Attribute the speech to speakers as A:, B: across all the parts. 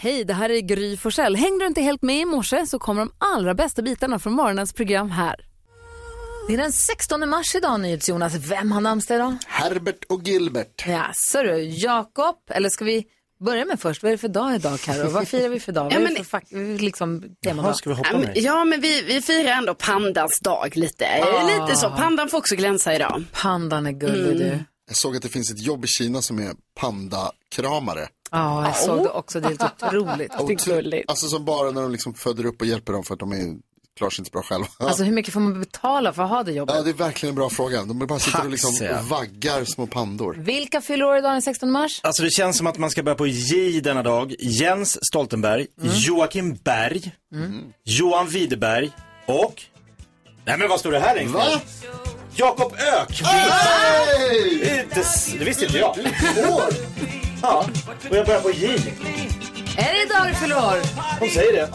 A: Hej, det här är Gry Forssell. Hängde du inte helt med i morse så kommer de allra bästa bitarna från morgonens program här. Det är den 16 mars idag, NyhetsJonas. Vem har namnsdag idag?
B: Herbert och Gilbert.
A: Ja, så du, Jakob, eller ska vi börja med först, vad är det för dag idag Karo? Vad firar vi för dag?
C: Ja,
A: vad är
C: men
A: det för fack- liksom, temadag?
D: Jaha, ska vi hoppa
C: Ja, men-
D: med?
C: Ja, men vi, vi firar ändå pandans dag lite. Eh,
A: Ah.
C: Lite så. Pandan får också glänsa idag. Mm.
A: Pandan är gullig du.
B: Jag såg att det finns ett jobb i Kina som är pandakramare.
A: Ja, jag såg det också, det är helt otroligt.
C: Det är gulligt.
B: Alltså som bara när de liksom föder upp och hjälper dem för att de är, klarar sig inte så bra själva.
A: Alltså hur mycket får man betala för att ha det jobbet?
B: Ja, det är verkligen en bra fråga. De bara sitter och liksom
D: Tack, säger jag.
B: vaggar små pandor.
A: Vilka fyller år idag den 16 mars?
D: Alltså det känns som att man ska börja på J denna dag. Jens Stoltenberg, Joakim Berg, Johan Widerberg och... Nej men vad står det här längst ner?
B: Va?
D: Jakob Ökvist!
B: Hej!
D: Det är inte s- Det visste inte jag.
B: Vår!
D: Ja. Och jag börjar på J.
A: Är det idag du fyller år?
D: Hon säger det.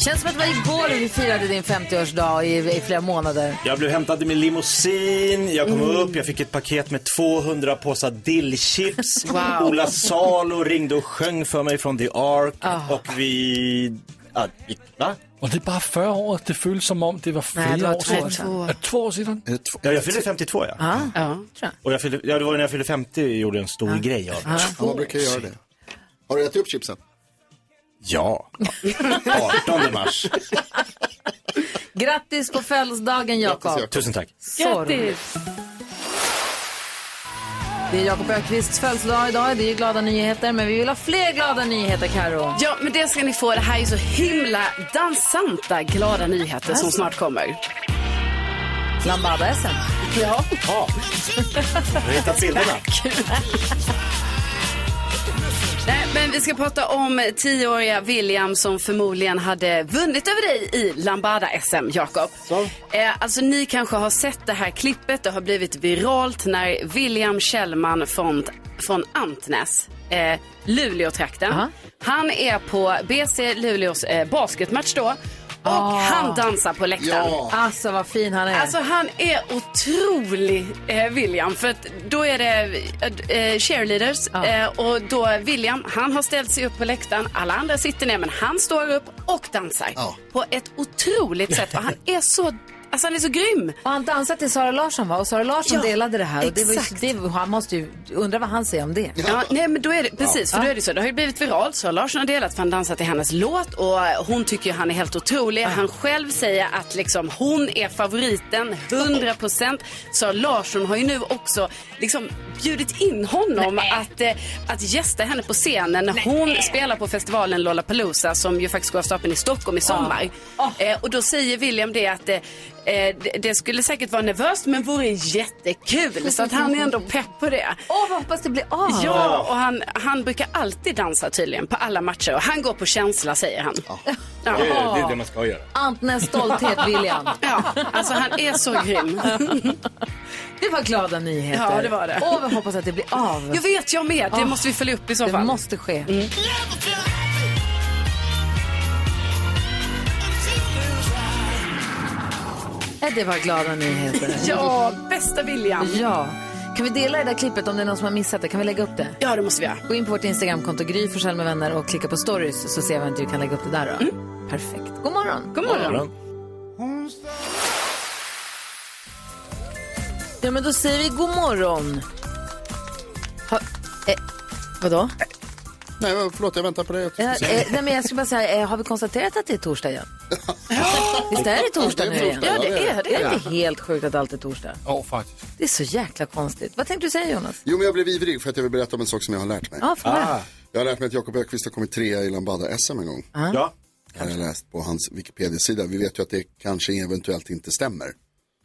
A: Känns som att det var igår vi firade din 50-årsdag i, i flera månader.
D: Jag blev hämtad i min limousin, jag kom upp, jag fick ett paket med 200 påsar dillchips. Ola Salo ringde och sjöng för mig från The Ark. Och vi... Ja, vi- va?
E: Och det är bara 40 år, det føles som om det var flere
A: det var
E: år siden.
A: 32
E: Er det to år siden?
B: Är det två-
D: Eh, Ja, jag fyllde 52 ja.
C: Ja.
D: Och jag fyllde, ja, det var ju när jag fyllde 50 jag gjorde en stor grej av det.
B: Ja, man brukar göra det. Har du ätit upp chipsen?
D: Ja. 18 mars.
A: Grattis på födelsedagen Jakob!
B: Jakob.
D: Tusen tack.
A: Grattis! Det är Jakob Ökvists födelsedag idag. Det är ju glada nyheter, men vi vill ha fler glada nyheter, Karo.
C: ja, men det ska ni få. Det här är så himla dansanta, glada nyheter som snart kommer.
A: Alltså. Lambada SM.
C: Ja.
D: Ja. Jag har hittat bilderna.
C: Nej, men vi ska prata om tioåriga William som förmodligen hade vunnit över dig i Lambada-SM, Jakob. Eh, alltså, ni kanske har sett det här klippet. Det har blivit viralt när William Kjellman från, från Antnäs, eh, Luleåtrakten,
A: Aha.
C: han är på BC Luleås eh, basketmatch då. Och han dansar på läktaren.
B: Ja.
A: Alltså, vad fin han är.
C: Alltså han är otrolig eh, William för att då är det eh, eh, cheerleaders
A: Ja.
C: eh, och då William han har ställt sig upp på läktaren, alla andra sitter ner men han står upp och dansar
B: Ja.
C: på ett otroligt sätt och han är så, alltså han är så grym.
A: och han dansade till Sara Larsson, va? Och Sara Larsson
C: Ja,
A: delade det här. Och det var ju,
C: exakt.
A: det, var- han måste ju undra vad han säger om det.
C: Ja, nej men då är det, precis, för då är det så. Det har ju blivit viralt så Larsson har delat för han dansar till hennes låt och eh, hon tycker ju han är helt otrolig. Han själv säger att liksom hon är favoriten, 100%. Så Larsson har ju nu också liksom bjudit in honom att, eh, att gästa henne på scenen när hon spelar på festivalen Lollapalooza som ju faktiskt går av stapeln i Stockholm i sommar. Eh, och då säger William det att eh, eh, det- det skulle säkert vara nervöst men vore jättekul. Så att han är ändå pepp på det.
A: Åh, vad hoppas det blir av!
C: Ja, och han, han brukar alltid dansa tydligen på alla matcher och han går på känsla säger han.
D: Det är, det är det man ska göra.
A: Antnäs stolthet, William.
C: Ja, alltså han är så grym.
A: Det var glada nyheter.
C: Ja, det var det.
A: Åh, vad hoppas att det blir av.
C: Jag vet, jag med. Det måste vi följa upp i så
A: Det
C: fall. Mm.
A: måste ske. Ja, Det var glada nyheter.
C: Ja, bästa William.
A: Ja. Kan vi dela det där klippet om det är någon som har missat det? Kan vi lägga upp det?
C: Ja, det måste vi göra.
A: Gå in på vårt Instagramkonto Gry Forssell med vänner och klicka på stories så ser vi att du kan lägga upp det där då. Perfekt. God morgon.
C: Mm. God morgon.
A: Ja men då säger vi god morgon. Ha, eh, vadå?
B: Nej, men förlåt, jag väntar på dig.
A: Eh, eh, nej men jag skulle bara säga, eh, har vi konstaterat att det är torsdag igen? Visst är det torsdag
B: Ja,
A: nu
B: det är
A: igen?
B: torsdag, ja, det är
A: Det är inte helt sjukt att allt är torsdag.
E: År faktisk.
A: Det är så jäkla konstigt. Vad tänkte du säga Jonas?
B: Jo, men jag blev ivrig för att jag vill berätta om en sak som jag har lärt mig.
A: Ja, för ah.
B: Jag har lärt mig att Jakob Ökvist har kommit trea i Lambada-SM en gång.
A: Ah?
D: Ja.
B: Har jag läst på hans Wikipedia-sida. Vi vet ju att det kanske eventuellt inte stämmer.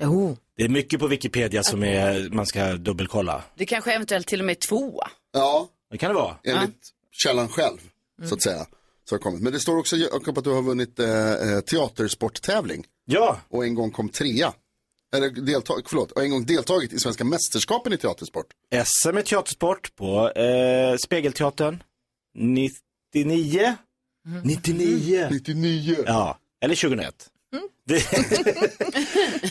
A: Jo.
D: Det är mycket på Wikipedia som är, man ska dubbelkolla.
C: Det kanske eventuellt till och med är två.
B: Ja,
D: Det kan det vara.
B: enligt källan själv, så
E: Mm.
B: att säga. Så har det kommit. Men det står också Jakob att du har vunnit eh, eh, teatersporttävling
D: Ja,
B: och en gång kom trea. Eller deltag, förlåt, och en gång deltagit i svenska mästerskapen i teatersport.
D: SM i teatersport på eh,
A: Mm.
D: Spegelteatern 99. 99.
B: Mm. 99.
D: Ja, Eller 2001.
A: Mm.
D: Det,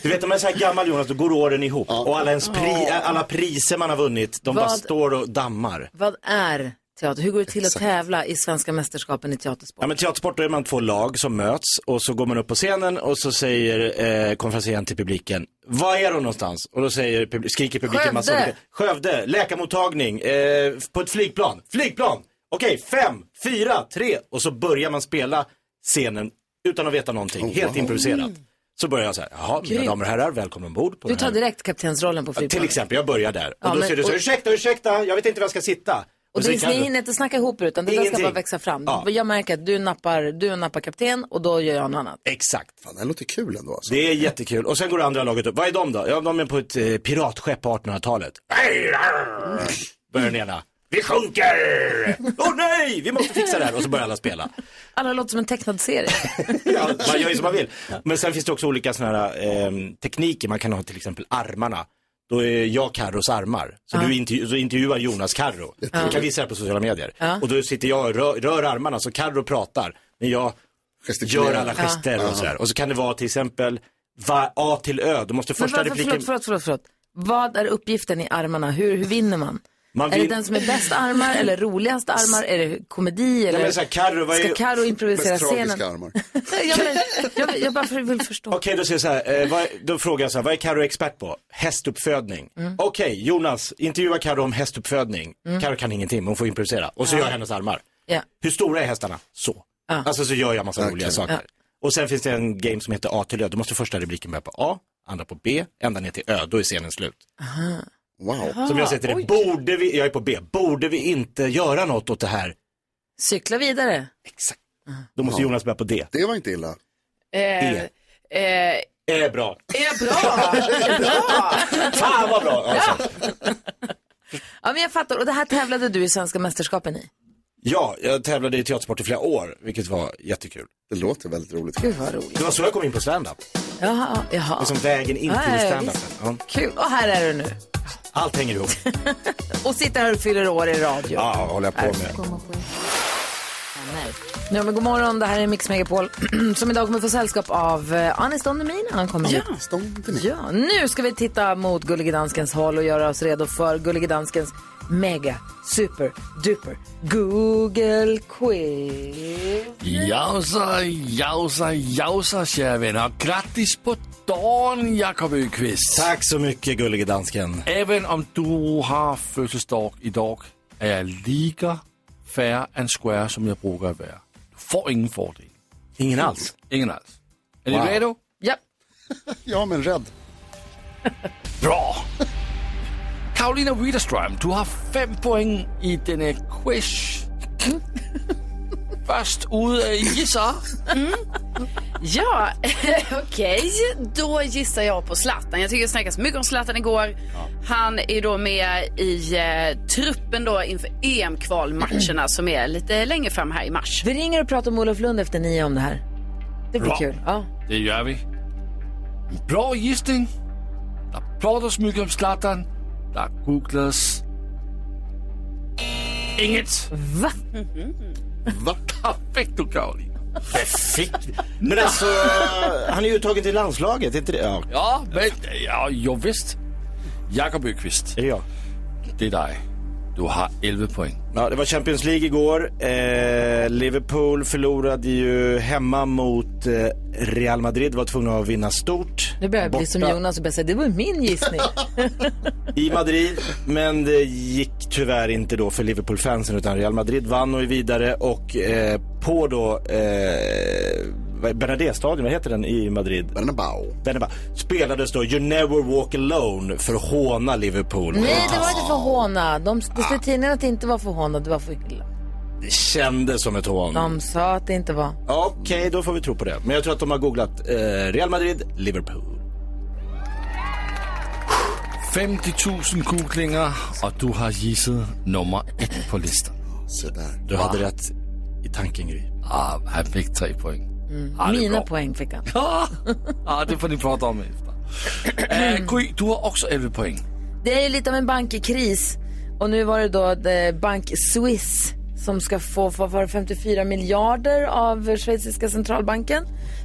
D: du vet om man är så här gammal Jonas, då går åren ihop. Och alla, ens pri, alla priser man har vunnit, de bara
A: Vad-
D: står och dammar.
A: Vad är teater? Hur går det till att tävla i svenska mästerskapen i teatersport?
D: Ja, men teatersport, då är man två lag som möts och så går man upp på scenen och så säger eh, konferencieren till publiken, var är de någonstans? Och då säger, pub- skriker
A: Skövde.
D: publiken massa olika, Skövde, läkarmottagning, eh, på ett flygplan, flygplan, okej, fem, fyra, tre. Och så börjar man spela scenen utan att veta någonting, helt improviserat. Så börjar jag så här, jaha, mina damer och herrar, välkomna ombord. På
A: Du
D: den här-
A: tar direkt kaptensrollen på
D: Ja, Till
A: flygplanet.
D: exempel, jag börjar där. Och
A: Ja,
D: då
A: men-
D: säger du så,
A: och-
D: ursäkta, ursäkta, jag vet inte var jag ska sitta.
A: Och
D: så
A: det,
D: kan
A: ni
D: du-
A: hinner inte snacka ihop er, utan det där ska
D: Ingenting.
A: bara växa fram.
D: Ja.
A: Jag märker att du nappar, du nappar kapten och då gör jag något annat.
D: Exakt.
B: Fan, det här låter kul ändå alltså.
D: Det är jättekul. Och sen går det andra laget upp. Vad är de då? Ja, de är på ett eh, piratskepp på 1800-talet. Hej, arr! Börjar den ena. Vi sjunker! Åh nej, vi måste fixa det här. Och så börjar alla spela.
A: Alla låter som en tecknad serie.
D: Ja, man gör ju som man vill. Men sen finns det också olika sådana här ehm, tekniker. Man kan ha till exempel armarna. Då är jag Carros armar. Så du intervju- så intervjuar Jonas Carro. Du kan visa det här på sociala medier. Och då sitter jag och rör, rör armarna så Carro pratar. Men jag
B: Gestikulerar.
D: gör alla gester och sådär. Och så kan det vara till exempel va, A till Ö. Då måste
A: Men
D: första
A: varför,
D: repliken...
A: förlåt, förlåt, förlåt, förlåt. Vad är uppgiften i armarna? Hur, hur vinner man?
D: Man
A: är det
D: vin-
A: den som är bäst armar eller roligast armar? Är det komedi? Eller...
D: men så här, Karo, vad är-
A: Ska Karo improvisera
B: Mest tragiska
A: scenen?
B: armar.
A: jag, men, jag, jag bara vill förstå.
D: Okej, då säger jag så här, eh, vad, då frågar jag så här, vad är Karo expert på? Hästuppfödning. Okej, Jonas, intervjua Karo om hästuppfödning. Karo kan ingenting, men hon får improvisera. Och så gör jag hennes armar.
A: Ja.
D: Hur stora är hästarna? Så. Alltså så gör jag massa roliga saker. Och sen finns det en game som heter A till Ö. Då måste första repliken börja på A, andra på B, ända ner till Ö. Då är scenen slut.
B: Wow.
D: Som jag säger till dig, borde vi, jag är på B, borde vi inte göra något åt det här?
A: Cykla vidare.
D: Exakt. Då måste Jonas börja på D.
B: Det var inte illa.
C: Eh,
D: E.
C: eh,
D: Det är bra.
C: är bra. Är bra.
D: Fan vad bra! Alltså.
A: Ja, men jag fattar. Och det här tävlade du i svenska mästerskapen i?
D: Ja, jag tävlade i teatersport i flera år, vilket var jättekul.
B: Det låter väldigt roligt.
A: Gud vad roligt.
D: Det var så jag kom in på standup.
A: Jaha, jaha.
D: Liksom vägen in
A: Ja, ja,
D: till standup.
A: visst.
D: Ja,
A: Kul. Och här är du nu.
D: allt hänger ihop.
A: Och sitter här och fyller år i radio.
D: Ja, vad håller jag på med.
A: Nej. Ja, men god morgon, det här är Mix Megapol som idag kommer få sällskap av eh, Anis Don Demina. Han kommer hit.
B: Stånd till mig.
A: Ja, nu ska vi titta mot Gullige Danskens håll och göra oss redo för Gullige Danskens mega super duper Google quiz.
E: Jausa, jausa, jausa kära vänner. Och grattis på dagen Jakob Öqvist.
D: Tack så mycket gullige dansken.
E: Även om du har födelsedag idag är jag lika fair and square som jag brukar vara. Du får ingen fördel.
D: Ingen alls.
E: Ingen alls. Är ni
D: Wow.
E: redo?
A: Ja,
B: Ja, men rädd.
E: Bra! Karolina Widerström, du har fem poäng i denna quiz. Först ut är Gissa.
C: Mm. Ja, okej. Då gissar jag på Zlatan. Jag tycker det snackas mycket om Zlatan igår. Han är då med i eh, truppen då inför EM-kvalmatcherna som är lite längre fram här i mars.
A: vi ringer och pratar med Olof Lund efter nio om det här. Det blir
E: Bra.
A: kul. Ja.
E: Det gör vi. Bra gissning. Det pratas mycket om Zlatan. Det googlas... Inget.
A: Va?
B: Mhm.
E: Vad perfekt du, Karolina.
D: Fick. Men alltså, han är uttagen till landslaget, är inte det? Ja,
E: Ja, men... Ja, jo, visst. Jakob Öqvist,
D: är det jag?
E: det är dig. Du har 11 poäng.
D: Ja, det var Champions League igår. Eh, Liverpool förlorade ju hemma mot eh, Real Madrid, var tvungna att vinna stort.
A: Nu börjar jag bli
D: Borta
A: som Jonas och börjar säga, det var ju min gissning.
D: I Madrid, men det gick tyvärr inte då för Liverpool-fansen utan Real Madrid vann och är vidare och eh, på då eh, vad- Bernabéu-stadion, vad heter den i Madrid?
B: Bernabau.
D: Bernabéu. Spelades då You Never Walk Alone för att håna Liverpool.
A: Nej, det var inte för håna. De, det
E: Ah.
A: stod i tidningen att det inte var för håna, det var för illa.
D: Det kändes som ett hån.
A: De sa att det inte var.
D: Okej, då får vi tro på det. Men jag tror att de har googlat eh, Real Madrid, Liverpool.
E: 50 000 googlingar och du har gissat nummer ett på listan.
B: Se där.
D: Du hade rätt i tanken, Gry.
E: Ah, han fick tre poäng. Ah, det är
A: mm. Mina
E: bra.
A: poäng fick han.
E: Ah, ah, det får ni prata om efter. Eh, Gry, du har också 11 poäng.
A: Det är ju lite av en bankkris. Och nu var det då eh, Bank Swiss som ska få, få var det 54 miljarder av schweiziska centralbanken.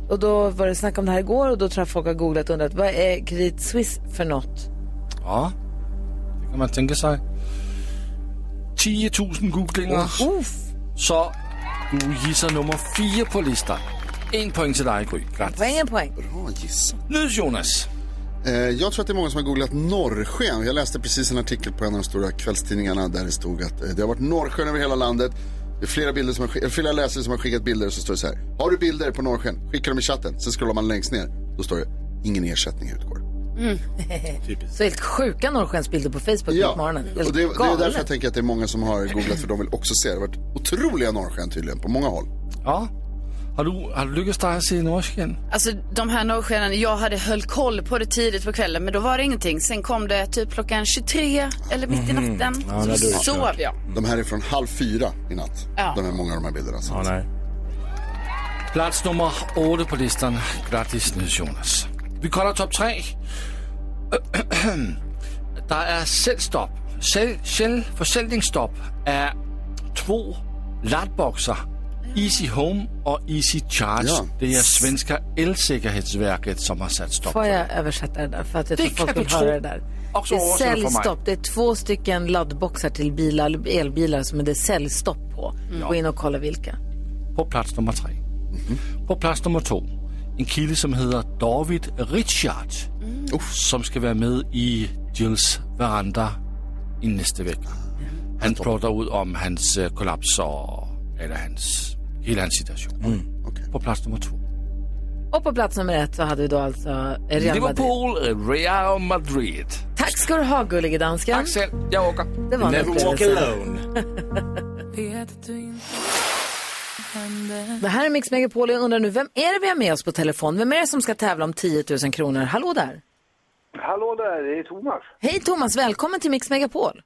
A: Och då var det snack om det här igår och då tror jag folk har googlat och undrat vad är Credit Suisse för något?
E: Ja, det kan man tänka sig. 10 000 googlinger. Så du gissar nummer fyra på listan. En poäng till dig, Gry. Grattis.
A: Poäng är poäng.
B: Bra gissat.
E: Nu Jonas.
B: Eh, jag tror att det är många som har googlat norrsken. Jag läste precis en artikel på en av de stora kvällstidningarna där det stod att eh, det har varit norrsken över hela landet. Det är flera, bilder som har, skick- eh, flera läsare som har skickat bilder och så står det så här. Har du bilder på norrsken? Skicka dem i chatten. Sen scrollar man längst ner. Då står det ingen ersättning utgår.
E: Mm.
A: Så helt sjuka norrskensbilder på Facebook på morgonen.
B: och det, det är därför jag tänker att det är många som har googlat för de vill också se. Det har varit otroliga norrsken tydligen på många håll.
E: Ja. Har du, har du lyckats dig se norsken?
C: Alltså de här norrskenen, jag hade höll koll på det tidigt på kvällen men då var det ingenting. Sen kom det typ klockan 23 eller mitt i natten.
E: Mhm. Ja,
C: så
E: när du är
C: sov
E: klar.
C: jag.
B: De här är från halv fyra i natt.
C: Ja.
B: De här, många av de här bilderna. alltså. Så.
E: nej. Plats nummer åtta på listan. Grattis Nils Jonas. Vi kollar topp tre. Der er selvstop. Selv, selv forsælgningsstop af to latboxer. Easy Home og Easy Charge.
B: Ja.
E: Det er svenska elsikkerhedsverket, som har sat stop.
A: Får jag översätta det där? För att jag
E: Det
A: tror folk
E: kan
A: vill
E: du tro.
A: höra det där.
E: Också
A: Det är
E: oversætter for mig.
A: säljstopp. Det är två stycken laddboxar till bilar, elbilar som är det är säljstopp på.
B: Mm.
A: Gå in och kolla vilka.
E: på plads nummer tre. På plads nummer to, en kilde, som hedder David Richard, som skal være med i Jills veranda i næste væk. Han prater ud om hans øh, kollaps og eller hans, hele hans situation.
B: Okay.
E: På plads nummer to.
A: Och på plats nummer ett så hade vi då alltså Real Madrid.
E: Liverpool, øh, Real Madrid.
A: Tack ska du ha gullige dansken.
E: Tak selv. Jeg åker.
A: Det var en
D: Never walk
A: upplevelse.
D: alone.
A: Det här är Mix Megapol och jag undrar nu, vem är det vi har med oss på telefon? Vem är det som ska tävla om 10 000 kronor? Hallå där!
F: Hallå där, det är Thomas.
A: Hej Thomas, välkommen till Mix Megapol!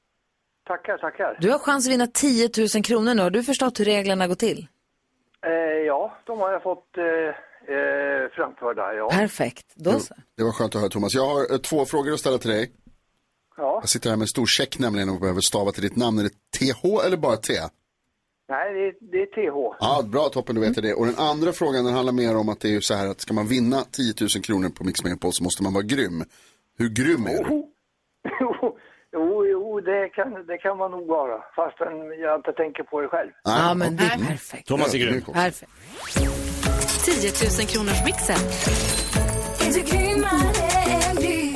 F: Tackar, tackar.
A: Du har chans att vinna 10 000 kronor nu. Har du förstått hur reglerna går till?
F: Eh, ja, de har jag fått eh, eh, framförda, ja.
A: Perfekt, då så.
B: Det var skönt att höra Thomas. Jag har eh, två frågor att ställa till dig.
F: ja.
B: Jag sitter här med en stor check nämligen och behöver stava till ditt namn. Är det TH eller bara T?
F: Nej, det, det är TH.
B: Ja, bra toppen, du vet det. Och den andra frågan den handlar mer om att det är ju så här att ska man vinna 10 000 kronor på Mix Megapol så måste man vara grym. Hur grym är du?
F: jo, jo, jo det, kan, det kan man nog vara, fastän jag inte tänker på det själv.
A: Ja, men det är perfekt.
D: Thomas är grym.
A: Perfekt.
G: 10 000 kronors mixen.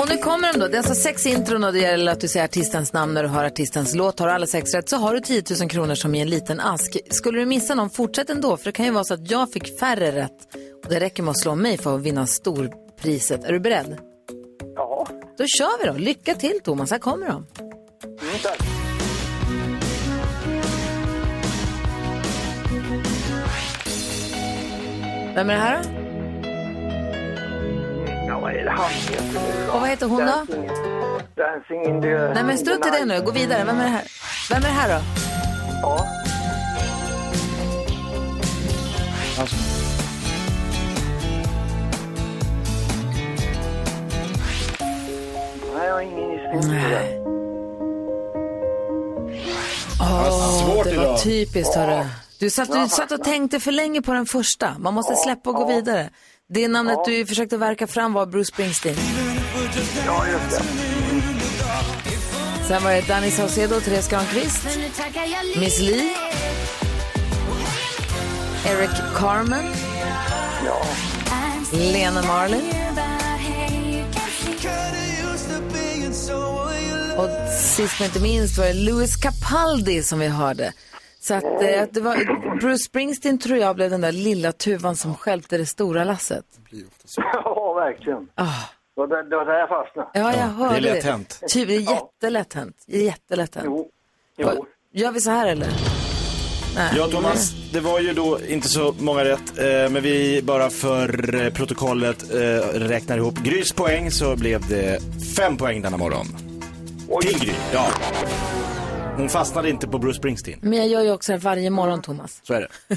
A: Och nu kommer de då. Det är alltså sex intron och det gäller att du säger artistens namn när du hör artistens låt. Har du alla sex rätt så har du 10 000 kronor som i en liten ask. Skulle du missa någon, fortsätt ändå för det kan ju vara så att jag fick färre rätt och det räcker med att slå mig för att vinna storpriset. Är du beredd?
F: Ja,
A: Då kör vi då. Lycka till Thomas, här kommer
F: mm,
A: de.
F: tack.
A: Vem är det här då?
F: Ja, vad är det han heter nu då?
A: Och vad heter hon då?
F: Dancing, dancing in the...
A: Nej men strunt i det nu, gå vidare. Vem är det här? Vem är det här då?
F: Ja, nej, jag har ingen gissning på det.
A: Åh, det var typiskt hörru. Du satt, du satt och tänkte för länge på den första. Man måste släppa och gå vidare. Det namnet du försökte verka fram var Bruce Springsteen.
F: Ja, just det.
A: Sen var det Danny Saucedo och Therese Granqvist. Miss Li. Eric Carmen.
F: Ja.
A: Lena Marlin. Och sist men inte minst var det Louis Capaldi som vi hörde. Så att eh, det var Bruce Springsteen tror jag blev den där lilla tuvan som stjälpte det stora lasset.
F: Ja, verkligen. Det var där- det var där jag fastnade.
A: Ah. Ja, jag hörde
D: det är lätt hänt.
A: Ty, det är jättelätt hänt. Det är Jättelätt hänt.
F: Jo, jo.
A: Gör vi så här eller?
D: Ja, Thomas, det var ju då inte så många rätt, eh, men vi bara för eh, protokollet eh, räknar ihop Grys poäng så blev det fem poäng denna morgon. Till Gry, ja. Hon fastnade inte på Bruce Springsteen,
A: Men jag gör ju också det här varje morgon, Thomas.
D: så är det.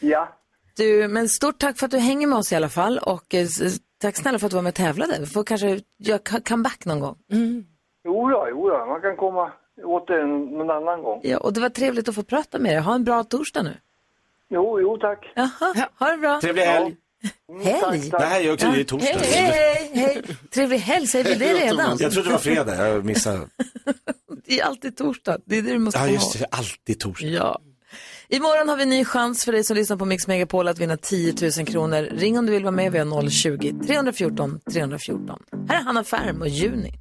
F: Ja,
A: Du, men stort tack för att du hänger med oss i alla fall och eh, s- tack snälla för att du Mm. var med och tävlade. Vi får kanske göra ca- comeback någon gång.
F: jo då, jo då. Man kan komma åt det någon annan gång.
A: Ja, och det var trevligt att få prata med dig. Ha en bra torsdag nu.
F: Jo, jo tack. Mm,
A: Jaha, ha det bra.
D: Trevlig helg.
A: Hej!
D: Det här är också det är torsdag.
A: Hej, hej, hej! Trevlig helg, säger vi det redan?
D: Jag trodde det var fredag, jag missade.
A: Det är alltid torsdag, det är det du måste
D: Ja,
A: komma
D: just
A: ihåg.
D: det, det är alltid torsdag.
A: Ja. Imorgon har vi en ny chans för dig som lyssnar på Mix Megapol att vinna 10 000 kronor. Ring om du vill vara med. Vi har 020-314 314. 314. Här är Hanna Färm och Juni.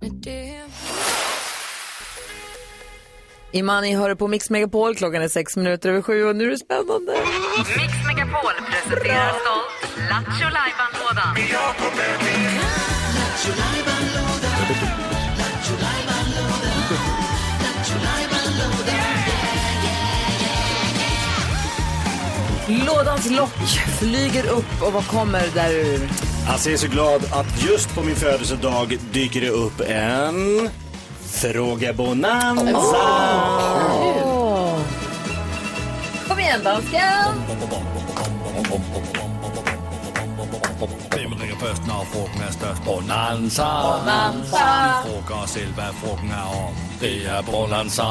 A: Imani hör på Mix Megapol. Klockan är sex minuter över sju och nu är det spännande.
G: Mix Megapol presenterar stolt Lattjo Lajban-lådan.
A: Lådans lock flyger upp och vad kommer där ur?
D: Alltså jag är så glad att just på min födelsedag dyker det upp en frågebonanza.
A: Åh. Kom igen, dansken!
H: Hvem ringer først, når frugten er størst? Bonanza. Frugger selv, hvad frugten er om. Det er Bonanza.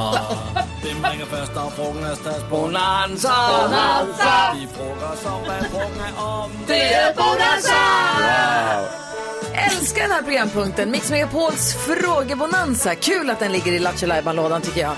H: Hvem ringer først, når frugten er størst? Bonanza. De frugger så, hvad frugten er om. Det er Bonanza.
A: Älskar den här programpunkten. Mix Megapols frågebonanza. Kul att den ligger i Lattjo lådan tycker jag.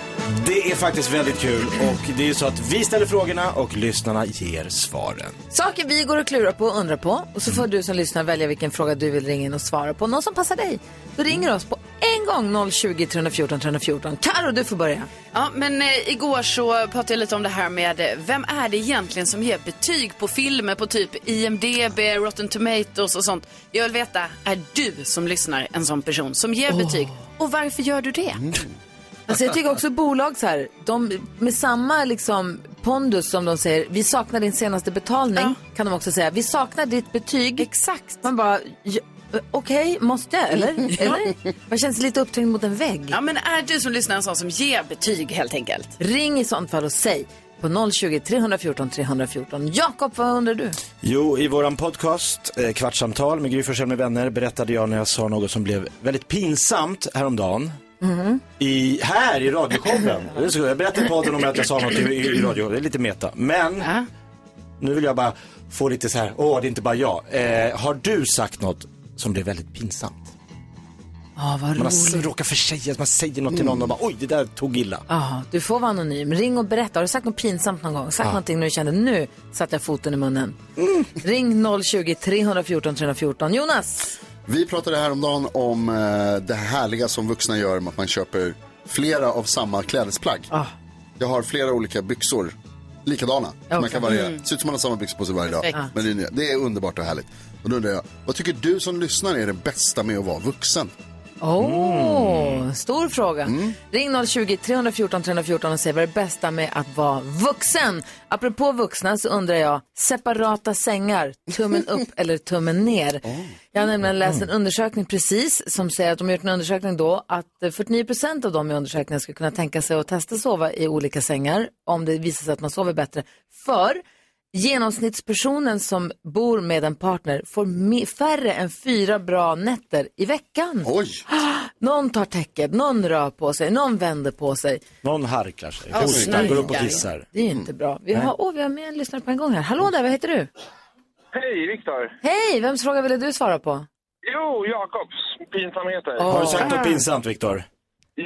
D: Det är faktiskt väldigt kul och det är ju så att vi ställer frågorna och lyssnarna ger svaren.
A: Saker vi går och klurar på och undrar på. Och så får
C: Mm.
A: du som lyssnar välja vilken fråga du vill ringa in och svara på. Någon som passar dig. Du
C: Mm.
A: ringer oss på en gång 020 314 314. Karo, du får börja.
C: Ja, men eh, igår så pratade jag lite om det här med eh, vem är det egentligen som ger betyg på filmer på typ IMDB, Rotten Tomatoes och sånt. Jag vill veta, är du som lyssnar en sån person som ger betyg? Och varför gör du det?
A: Alltså jag tycker också bolag så här, de, med samma liksom pondus som de säger, vi saknar din senaste betalning, kan de också säga, vi saknar ditt betyg. Exakt. Man bara, "Ja, eh, okej, måste jag
C: Mm.
A: eller? eller? Man känns lite uppträngd mot en vägg.
C: Ja, men är du som lyssnar en sån som ger betyg helt enkelt?
A: Ring i sånt fall och säg på 020 314 314. Jakob, vad undrar du?
D: Jo, i våran podcast eh, Kvartssamtal med Gry Forssell med vänner berättade jag när jag sa något som blev väldigt pinsamt häromdagen.
A: Mm-hmm.
D: I, här i radioshowen. Det är så- Jag berättade i podden om att jag sa något i, i, i radio. Det är lite meta. Men nu vill jag bara få lite så här, åh det är inte bara jag. Eh, har du sagt något som blev väldigt pinsamt?
A: Ja, vad
D: Man har s-
A: roligt. Mm.
D: råkar försäga, man säger något till någon och bara oj det där tog illa.
A: Ja, du får vara anonym. Ring och berätta. Har du sagt något pinsamt någon gång? Sagt någonting när du kände nu satte jag foten i munnen? Ring 020 314 314. Jonas!
B: Vi pratade häromdagen om eh, det härliga som vuxna gör med att man köper flera av samma klädesplagg.
A: Ah.
B: Jag har flera olika byxor, likadana, som man kan variera.
A: Mm.
B: Ser ut som man har samma byxor på sig varje dag.
C: Perfekt.
B: Men det är, nya. det är underbart och härligt. Och då undrar jag, vad tycker du som lyssnar är det bästa med att vara vuxen?
A: Åh, stor fråga. Ring 020 314 314 och säg vad är det bästa med att vara vuxen. Apropå vuxna så undrar jag, separata sängar, tummen upp eller tummen ner? Jag har nämligen läst en undersökning precis som säger att de har gjort en undersökning då att eh, 49 procent av dem i undersökningen skulle kunna tänka sig att testa sova i olika sängar om det visar sig att man sover bättre. För Genomsnittspersonen som bor med en partner får mi- färre än fyra bra nätter i veckan.
B: Oj!
A: Någon tar täcket, någon rör på sig, någon vänder på sig.
D: Någon harklar sig,
C: Åh,
D: hostar, går upp och
C: snarkar.
D: Mm. kissar.
A: Det är ju inte bra. Vi har, åh, vi har med en lyssnare på en gång här. Hallå där, vad heter du?
I: Hej, Viktor.
A: Hej, vems fråga ville du svara på?
I: Jo, Jakobs pinsamheter.
D: Har du sagt något pinsamt Viktor?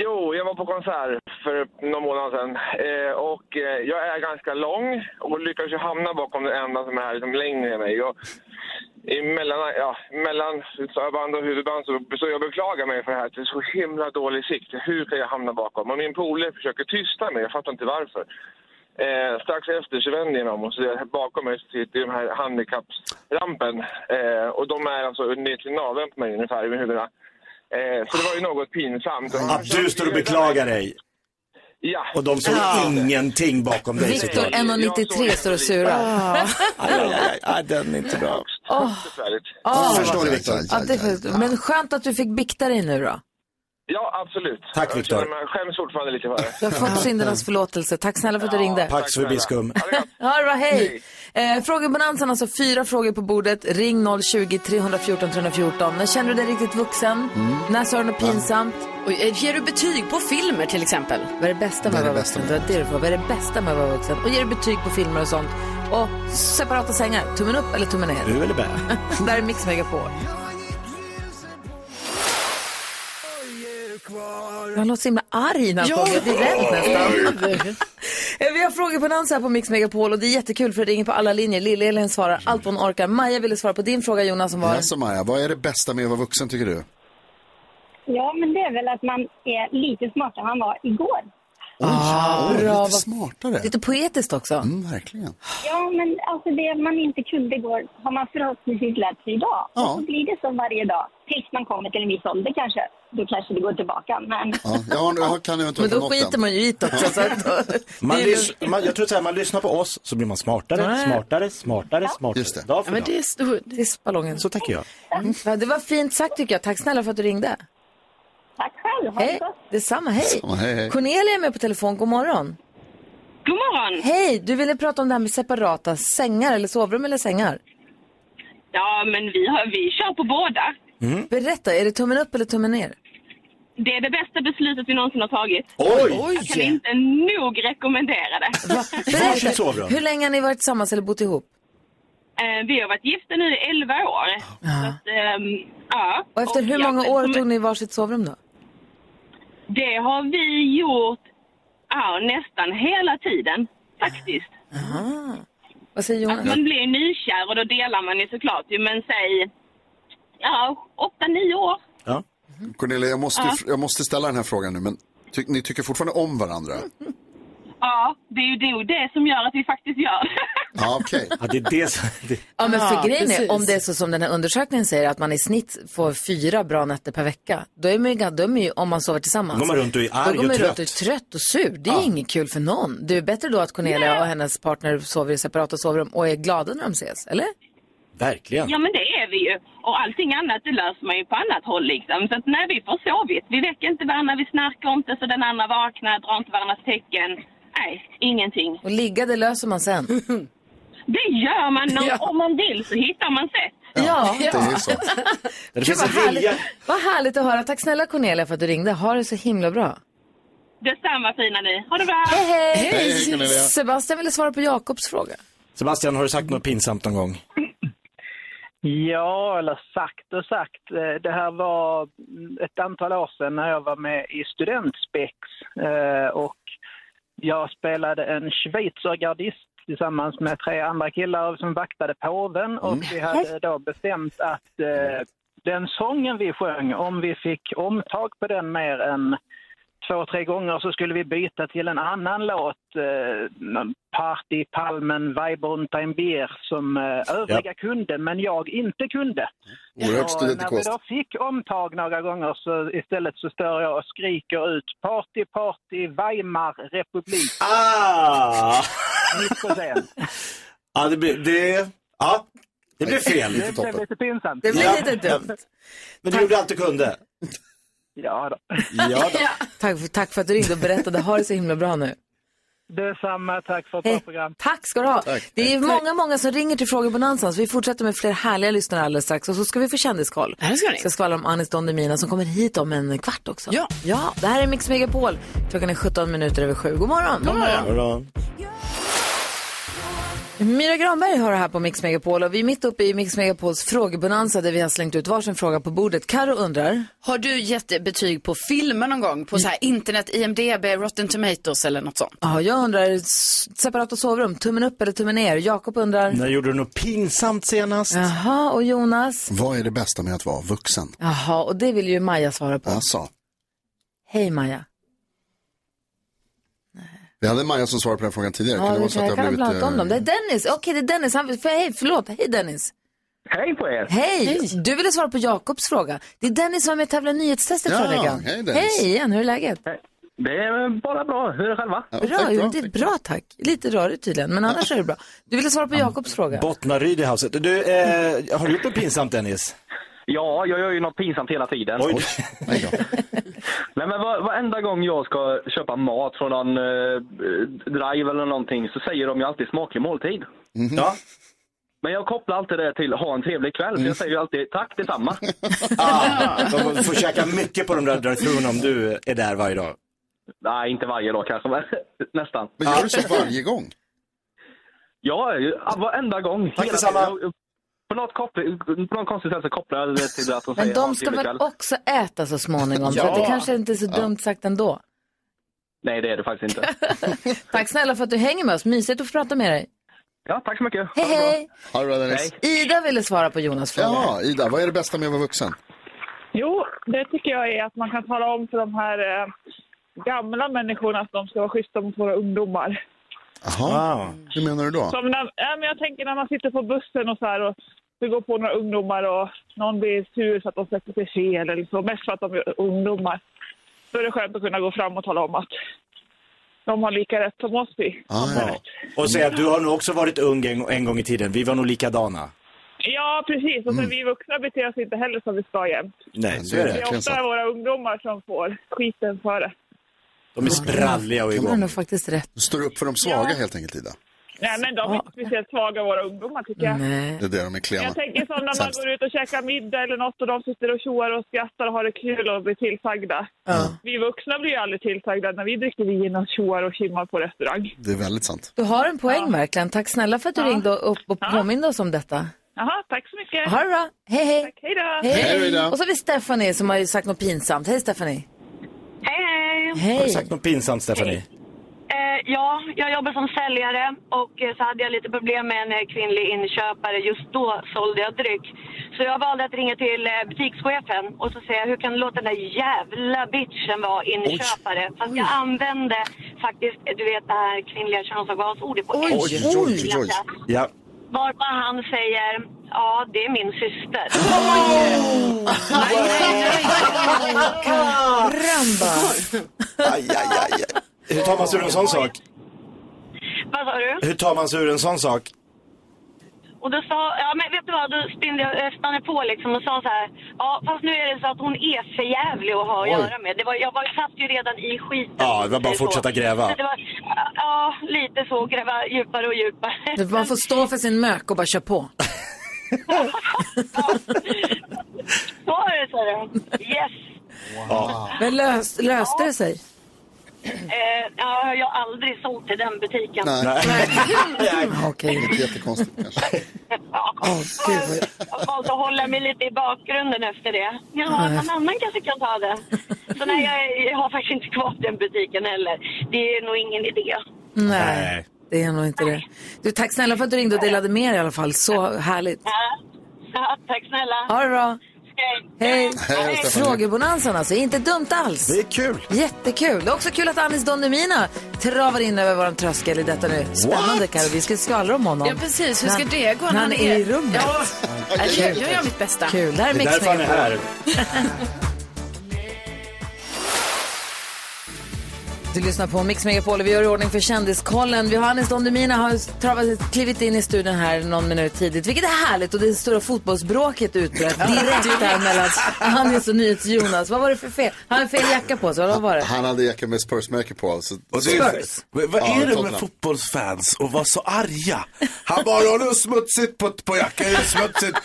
I: Jo, jag var på konsert för någon månad sedan. Eh, och eh, jag är ganska lång och lyckas ju hamna bakom den enda som är liksom längre än mig. Och emellan, ja, mellan band och huvudband så, så jag beklagar mig för det här. Det är så himla dålig sikt. Hur kan jag hamna bakom? Och min polare försöker tysta mig. Jag fattar inte varför. Eh, strax efter så vänder jag mig om och så där bakom mig så sitter ju de här handikappsrampen. Eh, och de är alltså ner till naveln på mig ungefär i huvudena. Eh, så det var ju något pinsamt.
D: Att du står och beklagar dig
I: Ja.
D: och de såg ingenting bakom dig
A: Viktor
D: såklart.
I: en-
A: 1,93 står och surar.
D: Aj, aj, aj, aj, den är inte bra.
I: Högst besvärligt.
A: Åh,
B: Förstår du Viktor?
A: ja, det är för- men skönt att du fick bikta dig nu då.
I: Ja, absolut.
D: Tack,
I: Jag
D: Viktor.
I: känner mig- Jag skäms fortfarande lite för det.
A: Du har fått syndernas förlåtelse. Tack snälla för att du ringde.
D: Pax förbi skum.
A: Ja, det var hej. Eh, Frågebonanzan, alltså fyra frågor på bordet. Ring 020-314 314. När känner du dig riktigt vuxen? När sa du något pinsamt?
C: Och, eh, ger du betyg på filmer till exempel?
A: Vad är det bästa med att vara vuxen? Det var det du frågade. Vad är det bästa med att vara vuxen? Och ger du betyg på filmer och sånt? Och separata sängar, tummen upp eller tummen ner?
D: Du eller bä?
A: Där är Mix Megapol. Jag låter så himla arg när han
G: Ja.
A: sjunger. Jag blir rädd nästan.
G: Oj.
A: Eh, Vi har frågor på dans här på Mix Megapol och det är jättekul för det ringer på alla linjer. Lill-Elin
B: Mm.
A: svarar allt vad hon orkar. Maja ville svara på din fråga Jonas som var...
B: Jaså Maja, vad är det bästa med att vara vuxen tycker du?
J: Ja, men det är väl att man är lite smartare än han var igår.
B: Ah,
A: bra.
B: Lite
A: Vad-
B: smartare.
A: Lite poetiskt också.
B: Mm, verkligen.
J: Ja, men alltså det man inte kunde igår har man förhoppningsvis lärt sig idag.
B: Ja.
J: Och så blir det så varje dag. Tills man kommer till en viss ålder kanske. Då kanske det går tillbaka. Men...
B: Ja, jag, har, jag har- kan eventuellt ha nått den.
A: man ju i det också. Så att
D: Man lys- man, jag tror så här, man lyssnar på oss så blir man smartare,
A: Nej.
D: smartare, smartare, smartare.
B: Just det.
D: Dag för dag.
A: är, det är ballongen.
D: Så tänker jag.
A: Mm.
B: Mm.
A: Ja, det var fint sagt tycker jag. Tack snälla för att du ringde.
J: Tack själv. Ha det
A: Hej.
J: gott.
A: Detsamma, hej.
B: Ja, hej, hej.
A: Cornelia är med på telefon. God morgon.
K: God morgon!
A: Hej, du ville prata om det här med separata sängar eller sovrum eller sängar.
K: Ja, men vi, har, vi kör på båda.
B: Mm.
A: Berätta, är det tummen upp eller tummen ner?
K: Det är det bästa beslutet vi någonsin har tagit.
A: Oj!
K: Jag kan inte nog rekommendera det.
A: Berätta, hur länge har ni varit tillsammans eller bott ihop?
K: Eh, Vi har varit gifta nu i 11 år. Så att, ehm, ja.
A: Och efter hur
K: jag-
A: många år tog ni varsitt sovrum då?
K: Det har vi gjort ja, nästan hela tiden, faktiskt.
A: Aha. Vad säger
K: Att
A: Jonas?
K: man blir nykär och då delar man ju såklart. ju, Men säg, ja, åtta, nio år.
B: Cornelia, jag måste,
K: Ja.
B: jag måste ställa den här frågan nu, men ty, ni tycker fortfarande om varandra?
K: Ja, det är ju nog det som gör att vi faktiskt gör det.
B: Ja, okej.
D: Ja, det är det som... Det...
A: Ja, men för
K: Ja,
A: grejen
K: precis.
A: är, om det är så som den här undersökningen säger, att man i snitt får fyra bra nätter per vecka, då är man ju, gan- då är man ju om man sover tillsammans.
D: Då går man runt och är arg
A: Då går man
D: och
A: runt och är
D: trött.
A: trött och sur. Det är inget kul för någon. Det är bättre då att Cornelia och hennes partner sover i separata sovrum och är glada när de ses, eller?
D: Verkligen.
K: Ja, men det är vi ju. Och allting annat det löser man ju på annat håll liksom. Så att när vi får sovit, vi väcker inte varandra, vi snarkar inte så den andra vaknar, drar inte varandras tecken. Nej, ingenting.
A: Och ligga, det löser man sen.
K: Det gör man när,
A: Ja.
K: om man vill så hittar man sätt.
A: Ja,
K: det är ju
B: så.
D: Det
A: Gud, vad, härligt, vad härligt att höra. Tack snälla Cornelia för att du ringde. Ha det så himla bra.
K: Detsamma fina ni. Ha det bra!
A: Hej, hej!
D: Hej, hej, Cornelia.
A: Sebastian ville svara på Jakobs fråga.
D: Sebastian, har du sagt något pinsamt någon gång?
L: Ja, eller sagt och sagt. Eh, Det här var mm, ett antal år sedan när jag var med i Studentspex eh, och jag spelade en schweizergardist tillsammans med tre andra killar som vaktade påven
F: Mm.
L: och vi hade då bestämt att eh, den sången vi sjöng, om vi fick omtag på den mer än två, tre gånger så skulle vi byta till en annan låt, eh, någon Party Palmen Weibrunter ein Bier, som eh, övriga kunde, men jag inte kunde.
B: Oerhört
L: Så
B: studentikost.
L: När vi då fick omtag några gånger så istället så stör jag och skriker ut Party Party Weimar Republik.
D: Ah!
L: Mitt på scen.
D: Ja, det blir... Det... Ja, det blir fel.
L: Det blev lite pinsamt.
A: Det blir
D: Ja.
A: lite dumt.
D: Men du gjorde allt du kunde.
L: Ja, då.
D: Ja, då.
A: Tack, för- tack för att du ringde och berättade. Ha det så himla bra nu.
L: Detsamma, tack för ett
A: Hej.
L: bra program.
A: Tack ska du ha.
L: Tack.
A: det är många, många som ringer till Frågebonanzan så vi fortsätter med fler härliga lyssnare alldeles strax och så ska vi få kändiskoll.
C: Det här ska ni.
A: ska skvallra om Anis Don Demina som kommer hit om en kvart också.
C: Ja.
A: ja det här är Mix Megapol. Klockan är 17 minuter över sju. God morgon.
D: God morgon.
A: Myra Granberg har det här på Mix Megapol och vi är mitt uppe i Mix Megapols frågebonanza där vi har slängt ut varsin fråga på bordet. Karo undrar.
C: Har du gett betyg på filmer någon gång? På så här internet, IMDB, Rotten Tomatoes eller något sånt?
A: Ja, jag undrar, s- separata sovrum, tummen upp eller tummen ner? Jakob undrar.
D: När gjorde du något pinsamt senast?
A: Jaha, och Jonas?
B: Vad är det bästa med att vara vuxen?
A: Jaha, och det vill ju Maja svara på.
B: Alltså,
A: Hej Maja.
B: vi hade Maja som svarade på den frågan tidigare.
A: Ja,
B: vara
A: det
B: så
A: kan,
B: att
A: jag kan
B: har blivit,
A: prata om
B: eh,
A: dem. Det är Dennis. Okej, det är Dennis. Han, för, hej, förlåt. Hej Dennis.
M: Hej på er!
A: Hej. Du ville svara på Jakobs fråga. Det är Dennis som var med och tävlade i nyhetstestet
M: Ja,
A: förra veckan.
M: hej, Dennis.
A: Hej igen, hur är läget?
M: Det är bara bra. Hur är det själva?
A: Bra, jo, det är bra tack. Lite rörigt tydligen, men annars är det bra. Du ville svara på Jakobs fråga.
D: Bottnaryd i huset. Du, eh, har du gjort något pinsamt Dennis?
M: Ja, jag gör ju något pinsamt hela tiden. Nej, men var, varenda gång jag ska köpa mat från någon eh, drive eller någonting så säger de ju alltid smaklig måltid.
D: Ja.
M: Men jag kopplar alltid det till ha en trevlig kväll,
D: Mm.
M: så jag säger ju alltid tack detsamma.
D: De får käka mycket på de där drive om du är där varje dag.
M: Nej, inte varje dag kanske, men nästan.
D: Men gör du så
B: varje gång?
M: Ja, ja, varenda gång.
D: Tack
M: Hela
D: detsamma.
M: tiden. Jag- På något, koppl- på något konstigt sätt så kopplar jag det till att de
A: Men
M: säger ha en
A: de ska
M: trevlig
A: väl
M: kväll.
A: också äta så småningom? Så
M: Ja.
A: att det kanske inte är så
M: Ja.
A: dumt sagt ändå.
M: Nej, det är det faktiskt inte.
A: Tack snälla för att du hänger med oss. Mysigt att få prata med dig.
M: Ja, tack så mycket.
A: Hej, hej.
B: Ha det bra Dennis.
A: Ida ville svara på Jonas fråga.
B: Ja, Ida, vad är det bästa med att vara vuxen?
N: Jo, det tycker jag är att man kan tala om för de här eh, gamla människorna att de ska vara schyssta mot våra ungdomar.
B: Jaha, hur menar du då?
N: Som när, äh, men jag tänker när man sitter på bussen och så här och det går på några ungdomar och någon blir sur för att de sätter sig fel eller så, mest för att de är ungdomar. Då är det skönt att kunna gå fram och tala om att de har lika rätt som oss vi.
D: Ja. Och säga att du har nog också varit ung en, en gång i tiden. Vi var nog likadana.
N: Ja, precis. Och sen vi vuxna beter oss inte heller som vi ska jämt.
D: Nej, Mm. så
N: Det
D: är
N: är
D: det.
N: ofta våra ungdomar som får skiten för det.
D: De är spralliga och
A: Det var
D: igång.
A: nog faktiskt rätt.
B: Du står upp för de svaga helt enkelt Ida.
N: Nej, men de är inte speciellt svaga våra ungdomar tycker jag.
B: Det är det de är klena.
N: Jag tänker som när man
B: Sämst.
N: går ut och käkar middag eller något och de sitter och tjoar och skrattar och har det kul och blir tillsagda. Vi vuxna blir ju aldrig tillsagda när vi dricker vin och tjoar och kimmar på restaurang.
B: Det är väldigt sant.
A: Du har en poäng verkligen. Tack snälla för att du ringde och, och- och påminde oss om detta.
N: Jaha, tack så mycket.
A: Ha det bra. Hej, hej. Tack,
N: hej då.
A: Och så har vi Stephanie som har ju sagt något pinsamt. Hej Stephanie.
O: Hej, hej!
D: Har du sagt något pinsamt, Stephanie?
O: Eh, ja, jag jobbar som säljare och eh, så hade jag lite problem med en eh, kvinnlig inköpare. Just då sålde jag dryck. Så jag valde att ringa till eh, butikschefen och så säga hur kan du låta den där jävla bitchen vara inköpare? Fast jag använde faktiskt, eh, du vet det här kvinnliga könsorgansordet på engelska.
D: Ja.
O: Varpå han säger, ja det är min syster.
A: Karamba!
D: Aj, aj, aj, aj. Hur tar man sig ur en sån sak?
O: Vad sa du?
D: Hur tar man sig ur en sån sak?
O: Och då sa, ja men vet du vad, då spinnde jag, eh, stannade jag på liksom och sa så här, ja fast nu är det så att hon är för jävlig att ha att
D: Oj.
O: göra med. Det var, jag var, satt ju redan i skiten.
D: Ja, det var bara att
O: Så.
D: fortsätta gräva.
O: Så Det var, ja, lite så, gräva djupare och djupare.
A: Man får stå för sin mök och bara köra på.
O: Så är det, sa jag. Yes.
A: Men lös, löste det sig?
O: Eh, ja, jag har aldrig sålt till den butiken.
A: Okej.
B: Det är jättekonstigt kanske.
A: Åh, gud.
O: Jag har valt att hålla mig lite i bakgrunden efter det. Ja, någon annan kanske kan ta det. Så nej, jag, jag har faktiskt inte kvar den butiken heller. Det är nog ingen idé.
A: Nej, det är nog inte det. Du, tack snälla för att du ringde och delade med dig i alla fall. Så härligt.
O: Ja. Ja, tack snälla.
A: Ha det bra. Hej.
O: Hej, Stefan.
A: Frågebonanzan alltså, inte dumt alls. Det är
D: kul.
A: Jättekul. Det är också kul att Anis Don Demina travar in över vår tröskel i detta nu. Spännande
C: What?
A: Carro, vi ska skvallra om honom.
C: Ja, precis. Hur ska
A: När-
C: det gå
A: När han är i rummet.
C: Ja. Jag, jag gör mitt bästa.
A: Kul. Det här är Mix Megapol. Du lyssnar på Mix Megapol och vi gör i ordning för Kändiskollen. Vi har Anis Don Demina har travat, klivit in i studion här någon minut tidigt, vilket är härligt. Och det stora fotbollsbråket utbröt direkt där mellan Anis och NyhetsJonas. Vad var det för fel? Han hade fel jacka på sig, eller vad var det?
B: Han hade jacka med Spurs-märke på. alltså- Så...
P: Och det är, vad vad är det med fotbollsfans och vara så arga? Han bara, har du smutsigt på, på jackan? Är det smutsigt?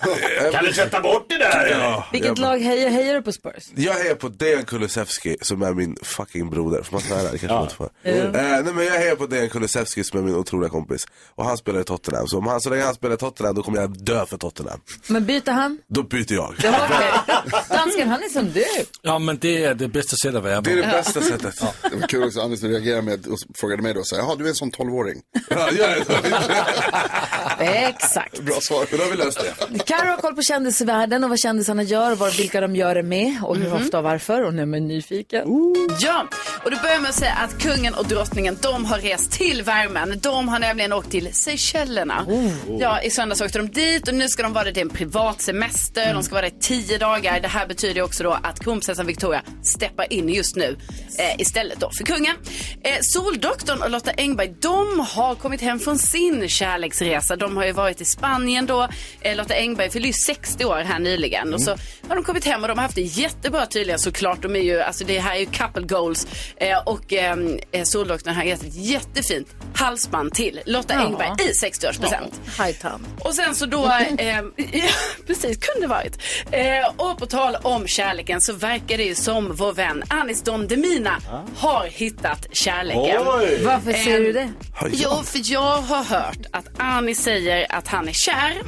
D: Kan du tvätta bort det där?
P: Ja,
A: Vilket
P: jag,
A: lag hejar, hejar du på Spurs?
P: jag hejar på Dejan Kulusevski som är min fucking broder. Får man svära? Det kanske man inte får. Eh, nej men jag hejar på Dejan Kulusevski som är min otroliga kompis. Och han spelar i Tottenham. Så om han, så länge han spelar i Tottenham då kommer jag dö för Tottenham.
A: Men byter han?
P: Då byter jag.
A: Dansken, han är som du.
E: Ja, men det är det bästa sättet att vara
P: Det är det
A: Ja.
P: bästa sättet.
B: Det var kul också, Anders, du reagerade med och frågade mig då, så här, jaha, du är en sån 12-åring.
A: Exakt.
B: Bra svar.
P: Då har vi löst det.
A: Carro har koll på kändisvärlden och vad kändisarna gör, var, vilka de gör det med och hur ofta och varför. Och nu är man nyfiken.
C: Ja, och du börjar med att säga att kungen och drottningen, de har rest till värmen. De har nämligen åkt till Seychellerna. Ja, i söndags åkte de dit och nu ska de vara där. Det är en privat semester. De ska vara där i tio dagar. Det här betyder också då att kronprinsessan Victoria steppar in just nu eh, istället då för kungen. Eh, Soldoktorn och Lotta Engberg, de har kommit hem från sin kärleksresa. De har ju varit i Spanien då. Eh, Lotta Engberg pappa fyllde ju 60 år här nyligen och så har de kommit hem och de har haft det jättebra tydligen såklart. De är ju, alltså det här är ju couple goals eh, och ehm, eh, Soldoktorn har gett ett jättefint halsband till Lotta
A: Ja.
C: Engberg i 60-årspresent.
A: Hajtan.
C: Och sen så då, eh, ja, precis, kunde varit. Eh, och på tal om kärleken så verkar det ju som vår vän Anis Don Demina har hittat kärleken.
A: Oj. Varför säger
C: Eh,
A: du det?
C: Jo, för jag har hört att Anis säger att han är kär.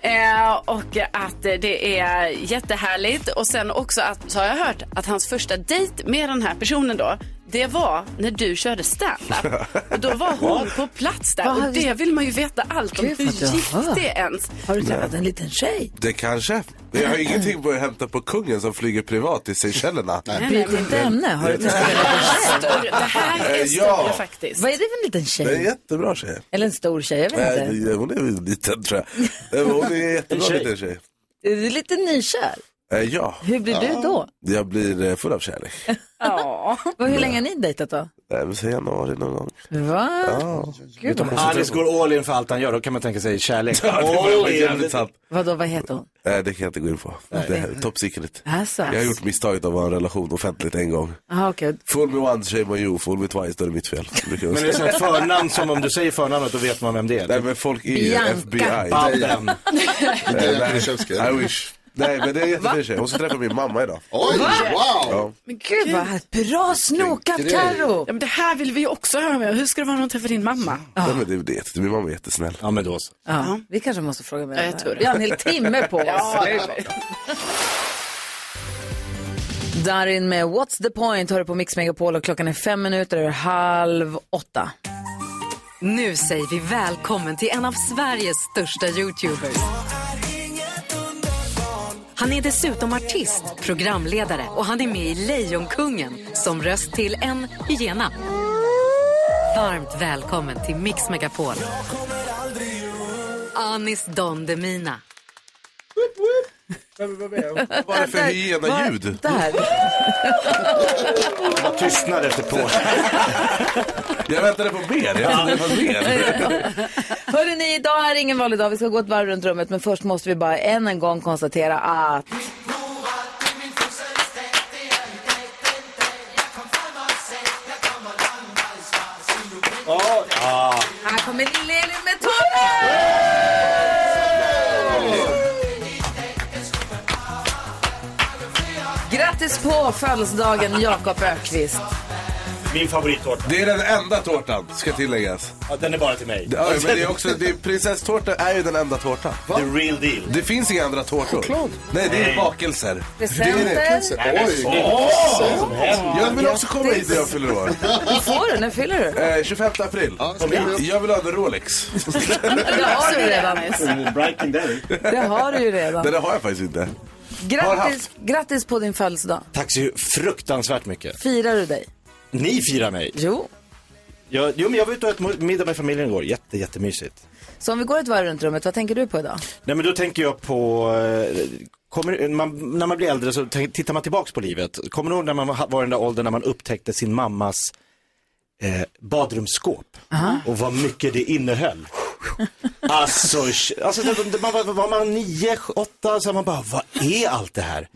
C: Eh, och att eh, det är jättehärligt. Och sen också att, så har jag hört att hans första dejt med den här personen då, det var när du körde stand-up. Och då var hon på plats där.
A: Vad har
C: Och
A: vi-
C: det vill man ju veta allt om.
A: Gud,
C: Hur
A: vad du
C: gick
A: har.
C: det ens?
A: Har du träffat en liten tjej?
P: Det kanske. Men jag har ingenting på att hämta på kungen som flyger privat till Seychellerna.
A: Byt inte ämne. Har du träffat en liten tjej?
C: Det här
P: är Eh, ja. större
C: faktiskt.
A: Vad är det för en liten
P: Det är en
A: tjej?
P: jättebra tjej.
A: Eller en stor tjej? Jag vet
P: Nej,
A: inte.
P: det- hon är väl liten tror jag. Eh, Hon är en jättebra
A: En tjej.
P: liten tjej.
A: Är du lite nykär?
P: Eh, Ja.
A: Hur blir du då?
P: Jag blir eh, full av kärlek. Eh,
A: Ja. Hur länge har ni dejtat då?
P: Nej, men säg januari någon gång.
A: Va?
P: Ja.
A: Gud, vad-
P: Utan
D: Anis
P: koncentration.
D: går all in för allt han gör, då kan man tänka sig kärlek.
P: Ja, det var
D: All in.
P: jävligt sant.
A: Vadå, vad heter hon?
P: Nej, Eh, det kan jag inte gå in på. Det här är top secret.
A: Alltså.
P: Jag har gjort misstaget att vara i en relation offentligt en gång.
A: Aha, okej.
P: Fool me once, shame on you. Fool me twice, då är det mitt fel. Brukar jag
D: Men det är
P: säga.
D: sånt förnamn som om du säger förnamnet då vet man vem det är.
P: Nej men folk är ju
D: Bianca.
P: FBI.
D: Babben.
P: Nej, Eh, nej.
B: Kulusevski.
P: I wish. Nej men det är en jättefin tjej. Hon ska träffa min mamma idag.
B: Oj,
A: Va?
P: Ja.
C: Men
A: Gud, vad bra snokat,
P: Grej.
A: Karo.
C: Ja, men det här vill vi ju också höra med. Hur ska det vara när hon träffar din mamma?
P: Nej, men det är ju det. Min mamma är jättesnäll.
D: Ja men då så.
A: Ja, vi kanske måste fråga mer
C: Ja,
A: om det
C: jag
A: här.
C: tror det.
A: Vi har en hel timme på oss.
C: Ja, det är klart.
A: Darin med What's the point hör du på Mix Megapol och klockan är fem minuter över halv åtta.
Q: Nu säger vi välkommen till en av Sveriges största YouTubers. Han är dessutom artist, programledare och han är med i Lejonkungen som röst till en hyena. Varmt välkommen till Mix Megapol. Anis Don Demina.
P: Vad var det för hyena-ljud?
A: Där.
D: Vad tystnad efter på.
P: Jag väntade på mer. Jag väntade på mer.
A: Hörde ni, idag är ingen vanlig dag. Vi ska gå ett varv runt rummet, men först måste vi bara än en gång konstatera att...
D: Ja.
A: Här kommer Lille Elin med tårar! Grattis på födelsedagen, Jakob Ökvist.
D: Min favorittårta.
P: Det är den enda tårtan, ska tilläggas.
D: Ja, den är bara till mig.
P: Ja, men det är också, det är, prinsesstårta är ju den enda tårtan.
D: The real deal.
P: Det finns inga andra tårtor.
D: Choklad.
P: Nej, det
D: Nej.
P: är bakelser.
A: Presenter.
P: Det är-
A: Nej, men
P: Oj!
A: så-
P: Jag vill också komma hit när jag fyller år.
A: Vad får du? När fyller du?
P: Eh, 25 april.
A: ska vi-
P: Jag vill ha en Rolex.
A: Det har du ju redan.
D: Breaking
A: Det har du ju redan.
P: Det där har jag faktiskt inte. Har
A: Grattis,
P: haft.
A: grattis på din födelsedag.
D: Tack så ju fruktansvärt mycket.
A: Firar du dig?
D: Ni firar mig.
A: Jo.
D: Jag, jo, men jag var ute och åt middag med familjen igår. Jätte, jättemysigt.
A: Så om vi går ett varv runt rummet, vad tänker du på idag?
D: Nej men då tänker jag på, eh, kommer, man, när man blir äldre så tänk, tittar man tillbaks på livet. Kommer du ihåg när man ha- var i den där åldern när man upptäckte sin mammas eh, badrumsskåp? Och vad mycket det innehöll. alltså, sh- alltså det- det- man var, var man nio, åtta, så man bara, vad är allt det här?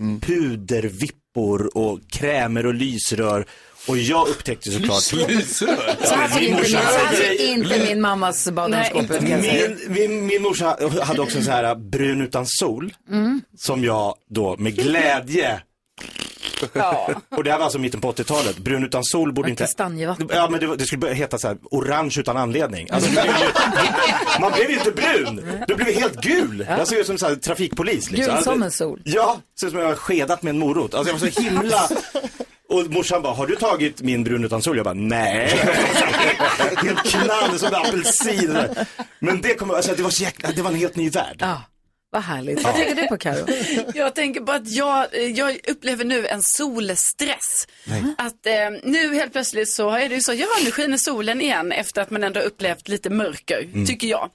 D: Pudervippor och krämer och lysrör. Och jag upptäckte såklart...
P: Lysrör?
A: Så här
D: Ja,
A: såg
D: min
A: inte, min, så
D: morsa
A: här
D: hade-
A: såg inte min mammas badrumsskåp ut kan jag säga.
D: min, min, min morsa hade också så här äh, brun utan sol.
A: Mm.
D: Som jag då med glädje
A: Ja.
D: Och det här var alltså mitten på 80-talet. Brun utan sol borde inte...
A: Kastanjevatten.
D: Ja men det, var- det skulle börja heta så här, orange utan anledning. Alltså, man, blev ju, man blev ju inte brun, du blev ju helt gul. Jag ser ut som så här, trafikpolis. Liksom.
A: Gul
D: Alltså,
A: som en sol.
D: Ja, ser ut som jag har skedat med en morot. Alltså jag var så himla... Och morsan bara, har du tagit min brun utan sol? Jag bara, nej. Helt knall som en apelsin. Men det kom, alltså, det, var så jäkla, det var en helt ny värld.
A: Ja, vad härligt. Vad
D: Ja.
A: tänker du på Karo?
C: Jag tänker på att jag, eh, jag upplever nu en solstress. Att eh, nu helt plötsligt så är det ju så, ja nu skiner solen igen efter att man ändå har upplevt lite mörker,
R: Mm.
C: tycker jag.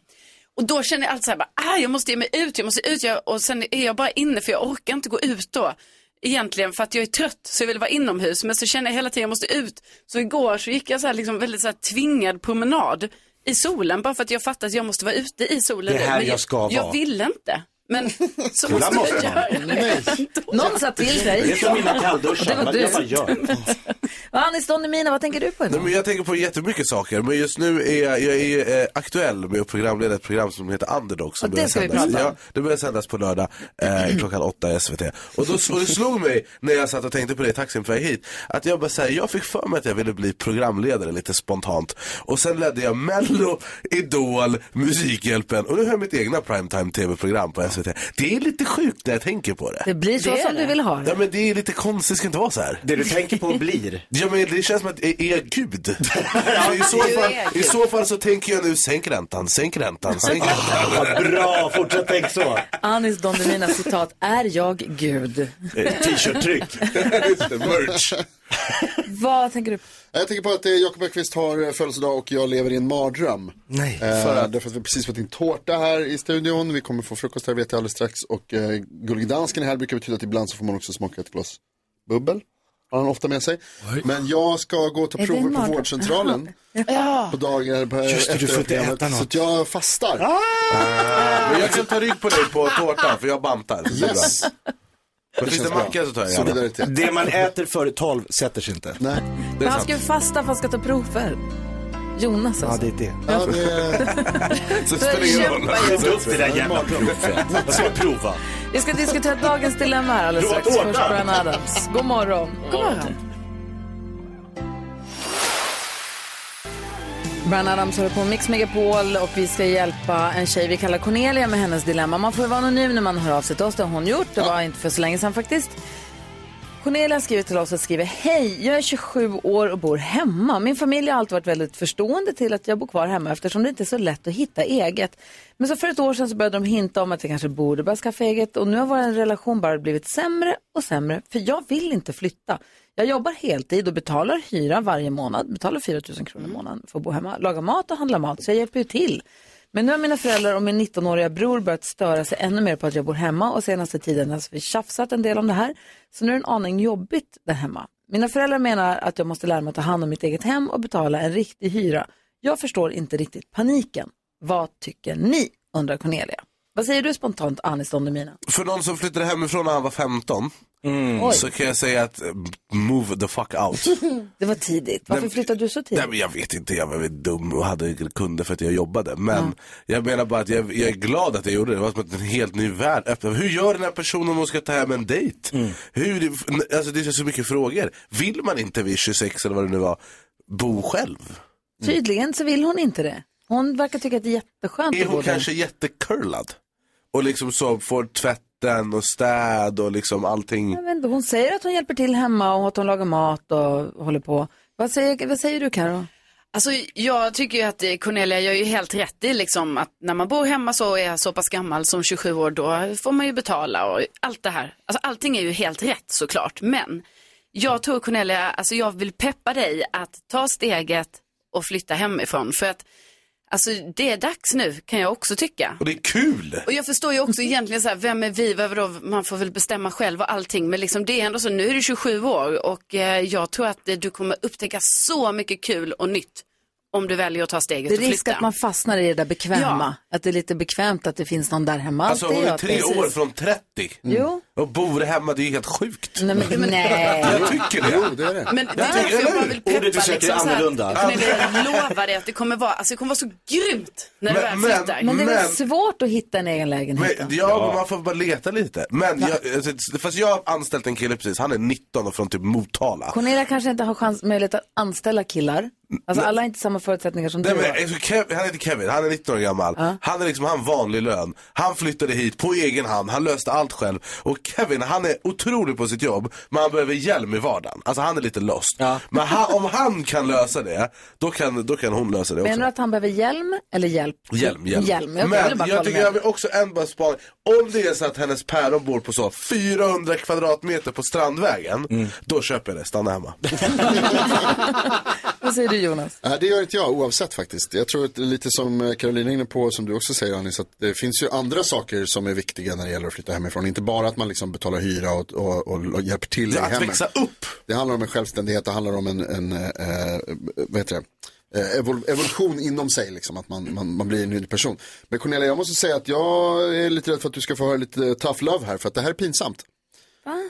C: Och då känner jag alltid så här, bara, ah, jag måste ge mig ut, jag måste ut. Jag, och sen är jag bara inne för jag orkar inte gå ut då. Egentligen för att jag är trött så jag vill vara inomhus. Men så känner jag hela tiden jag måste ut. Så igår så gick jag så här liksom väldigt så här tvingad promenad i solen. Bara för att jag fattade att jag måste vara ute i solen.
D: Det är
C: nu.
D: här
C: Men
D: jag ska
C: Jag
D: vara.
C: ville inte. Men så
D: Ibland
C: måste
D: måste
C: man
D: man.
C: göra det.
A: Någon sa till dig.
P: Det är som mina kallduschar,
A: Det var
P: man- jag bara gör.
A: du. Vad, Anis Don Demina, vad tänker du på
P: Nej,
A: idag?
P: men jag tänker på jättemycket saker, men just nu är jag, jag är ju, eh, aktuell med att programleda ett program som heter Underdog. Som
A: Och det
P: börjar
A: ska vi
P: sändas.
A: prata om.
P: Ja, det börjar sändas på lördag eh, klockan åtta i SVT. Och, då, och det slog mig när jag satt och tänkte på det i taxin på väg hit, att jag bara säger, jag fick för mig att jag ville bli programledare lite spontant. Och sen ledde jag Mello, Idol, Musikhjälpen och nu har jag mitt egna primetime tv-program på SVT. Det är lite sjukt när jag tänker på det.
A: Det blir så
P: Det är
A: som du
P: det.
A: vill ha det.
P: Ja men det är lite konstigt, det ska inte vara så här.
D: Det du tänker på blir.
P: Ja men det känns som att jag är gud. För i, så fall, I så fall så tänker jag nu sänk räntan, sänk räntan, sänk räntan.
D: Ah, Bra, fortsätt tänk så.
A: Anis Don Demina citat, är jag Gud?
D: T-shirt-tryck.
P: Merch.
A: Vad tänker du på?
B: Jag tänker på att eh, Jakob Öqvist har eh, födelsedag och jag lever i en mardröm.
P: Nej.
B: För att... Därför att vi precis fått in tårta här i studion. Vi kommer få frukost här vet jag alldeles strax. Och eh, Gullig Dansken är här brukar betyda att ibland så får man också smaka ett glas bubbel. Har han ofta med sig. Men jag ska gå och ta
A: Är det en
B: prover på
A: mardröm?
B: vårdcentralen.
A: Ja.
B: På dagar på,
P: Just det, du får inte
B: programmet,
P: äta något. Ah!
B: Så att jag fastar.
P: Men jag kan ta rygg på dig på tårtan för jag bantar. Så det är
B: Yes.
P: bra. Men finns det macka så tar jag gärna.
B: Solidaritet.
D: Det man äter före tolv sätter sig inte.
B: Nej,
A: Men han ska ju fasta för han ska ta prover. Jonas
D: Ja,
A: alltså.
D: det är det.
B: Ja, det...
P: Så
A: spelar det ingen roll.
D: Jag tog upp det där jävla provet. Jag ska prova.
A: Vi ska diskutera dagens dilemma här alldeles
D: Prova
A: strax.
D: tårta.
A: Först Bryan Adams. God morgon. God morgon. Bryan Adams håller på Mix Megapol och vi ska hjälpa en tjej vi kallar Cornelia med hennes dilemma. Man får ju vara anonym när man hör av sig till oss, det har hon gjort. Det var inte för så länge sedan faktiskt. Cornelia skriver till oss och skriver Hej, jag är 27 år och bor hemma. Min familj har alltid varit väldigt förstående till att jag bor kvar hemma eftersom det inte är så lätt att hitta eget. Men så för ett år sedan så började de hinta om att jag kanske borde börja skaffa eget och nu har vår relation bara blivit sämre och sämre för jag vill inte flytta. Jag jobbar heltid och betalar hyra varje månad, betalar 4 000 kronor i månaden för att bo hemma, laga mat och handla mat så jag hjälper ju till. Men nu har mina föräldrar och min 19-åriga bror börjat störa sig ännu mer på att jag bor hemma och senaste tiden har vi tjafsat en del om det här. Så nu är det en aning jobbigt där hemma. Mina föräldrar menar att jag måste lära mig att ta hand om mitt eget hem och betala en riktig hyra. Jag förstår inte riktigt paniken. Vad tycker ni? undrar Cornelia. Vad säger du spontant, Anis Don Demina?
P: För någon som flyttade hemifrån när han var 15
D: Mm.
A: Oj.
P: så kan jag säga att eh, move the fuck out.
A: Det var tidigt. Varför
P: Nej,
A: flyttade du så tidigt?
P: Nej, men jag vet inte, jag var väl dum och hade kunder för att jag jobbade. Men jag menar bara att jag, jag är glad att jag gjorde det. Det var som att en helt ny värld öppnade. Hur gör den här personen om hon ska ta hem en dejt?
A: Mm.
P: Hur, alltså det är så mycket frågor. Vill man inte vid 26 eller vad det nu var, bo själv?
A: Tydligen så vill hon inte det. Hon verkar tycka att det är jätteskönt
P: Är
A: att bo
P: hon
A: där.
P: kanske jättecurlad? Och liksom så får tvätten och städ och liksom allting.
A: Jag vet inte, hon säger att hon hjälper till hemma och att hon lagar mat och håller på. Vad säger, vad säger du Karo?
C: Alltså jag tycker ju att eh, Cornelia gör ju helt rätt i liksom att när man bor hemma så och är så pass gammal som 27 år då får man ju betala och allt det här. Alltså allting är ju helt rätt såklart men jag tror Cornelia, alltså jag vill peppa dig att ta steget och flytta hemifrån för att alltså det är dags nu kan jag också tycka.
P: Och det är kul!
C: Och jag förstår ju också egentligen så här, vem är vi, vadå, man får väl bestämma själv och allting. Men liksom det är ändå så, nu är du 27 år och eh, jag tror att eh, du kommer upptäcka så mycket kul och nytt om du väljer att ta steget
A: Det är
C: och flytta.
A: risk att man fastnar i det där bekväma. Att det är lite bekvämt att det finns någon där hemma.
P: Alltså
A: Det
P: hon
A: gör
P: är tre
A: precis.
P: år från 30.
A: Jo.
P: Och bor hemma, det är ju helt sjukt.
A: Nej, men, nej.
P: Jag tycker det.
B: Jo, det är
C: Men det är därför jag bara vill peppa liksom, så här, Cornelia, jag lovar dig att det kommer vara, alltså det kommer vara så grymt när du väl
P: Men-
C: flyttar.
A: Men det är väl
P: Men-
A: svårt att hitta en egen lägenhet?
P: Men, ja, men man får bara leta lite. Men jag, alltså, fast jag har anställt en kille precis, han är 19 och från typ Motala.
A: Cornelia kanske inte har chans, möjlighet att anställa killar. Alltså alla har inte samma förutsättningar som
P: Nej,
A: du
P: men,
A: har.
P: alltså, Kev- han heter Kevin, han är 19 år gammal. Han är liksom, han vanlig lön. Han flyttade hit på egen hand, han löste allt själv. Och Kevin, han är otrolig på sitt jobb, men han behöver hjälm i vardagen. Alltså han är lite lost. Men han, om han kan lösa det, då kan, då kan hon lösa det också.
A: Menar du att han behöver hjälm eller hjälp?
P: Hjälm, hjälm.
A: Hjälm, jag ville bara
P: Men
A: kolla
P: jag tycker
A: med.
P: jag vill också en bara spaning. Om det är så att hennes päron bor på så 400 kvadratmeter på Strandvägen,
D: Mm.
P: då köper jag det, stanna hemma.
A: Vad säger du Jonas?
B: Nej, det gör inte jag oavsett faktiskt. Jag tror att det är lite som eh, Caroline är inne på, som du också säger Anis, att det finns ju andra saker som är viktiga när det gäller att flytta hemifrån. Inte bara att man liksom betalar hyra och, och, och, och hjälper till
P: Det är
B: i
P: att
B: hemmet.
P: växa upp.
B: Det handlar om en självständighet, det handlar om en, en eh, eh, vad heter det? eh, evol- evolution inom sig, liksom, att man, man, man blir en ny person. Men Cornelia, jag måste säga att jag är lite rädd för att du ska få höra lite tough love här, för att det här är pinsamt.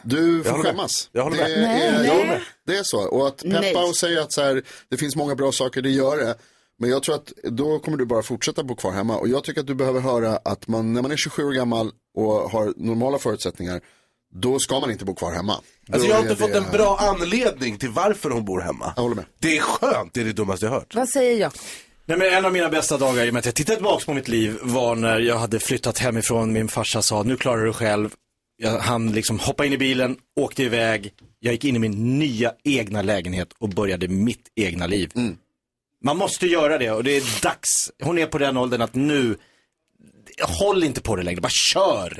B: Du får
P: håller med.
B: skämmas.
P: Jag håller med.
B: Det,
P: Nej,
B: är,
P: nej. Jag håller med.
B: det är så. Och att
P: Nej.
B: peppa och säga att så här, det finns många bra saker, det gör det. Men jag tror att då kommer du bara fortsätta bo kvar hemma. Och jag tycker att du behöver höra att man, när man är 27 år gammal och har normala förutsättningar, då ska man inte bo kvar hemma.
P: Alltså,
B: Då
P: jag har
B: är
P: inte fått
B: det-
P: en bra anledning till varför hon bor hemma. Jag
B: håller med.
P: Det är skönt, det är det dummaste jag hört.
A: Vad säger jag?
D: Nej, men en av mina bästa dagar i och med att jag tittar tillbaka på mitt liv var när jag hade flyttat hemifrån. Min farsa sa, nu klarar du dig själv. Jag, han liksom hoppade in i bilen, åkte iväg. Jag gick in i min nya egna lägenhet och började mitt egna liv. Man måste göra det och det är dags. Hon är på den åldern att nu, håll inte på det längre, bara kör.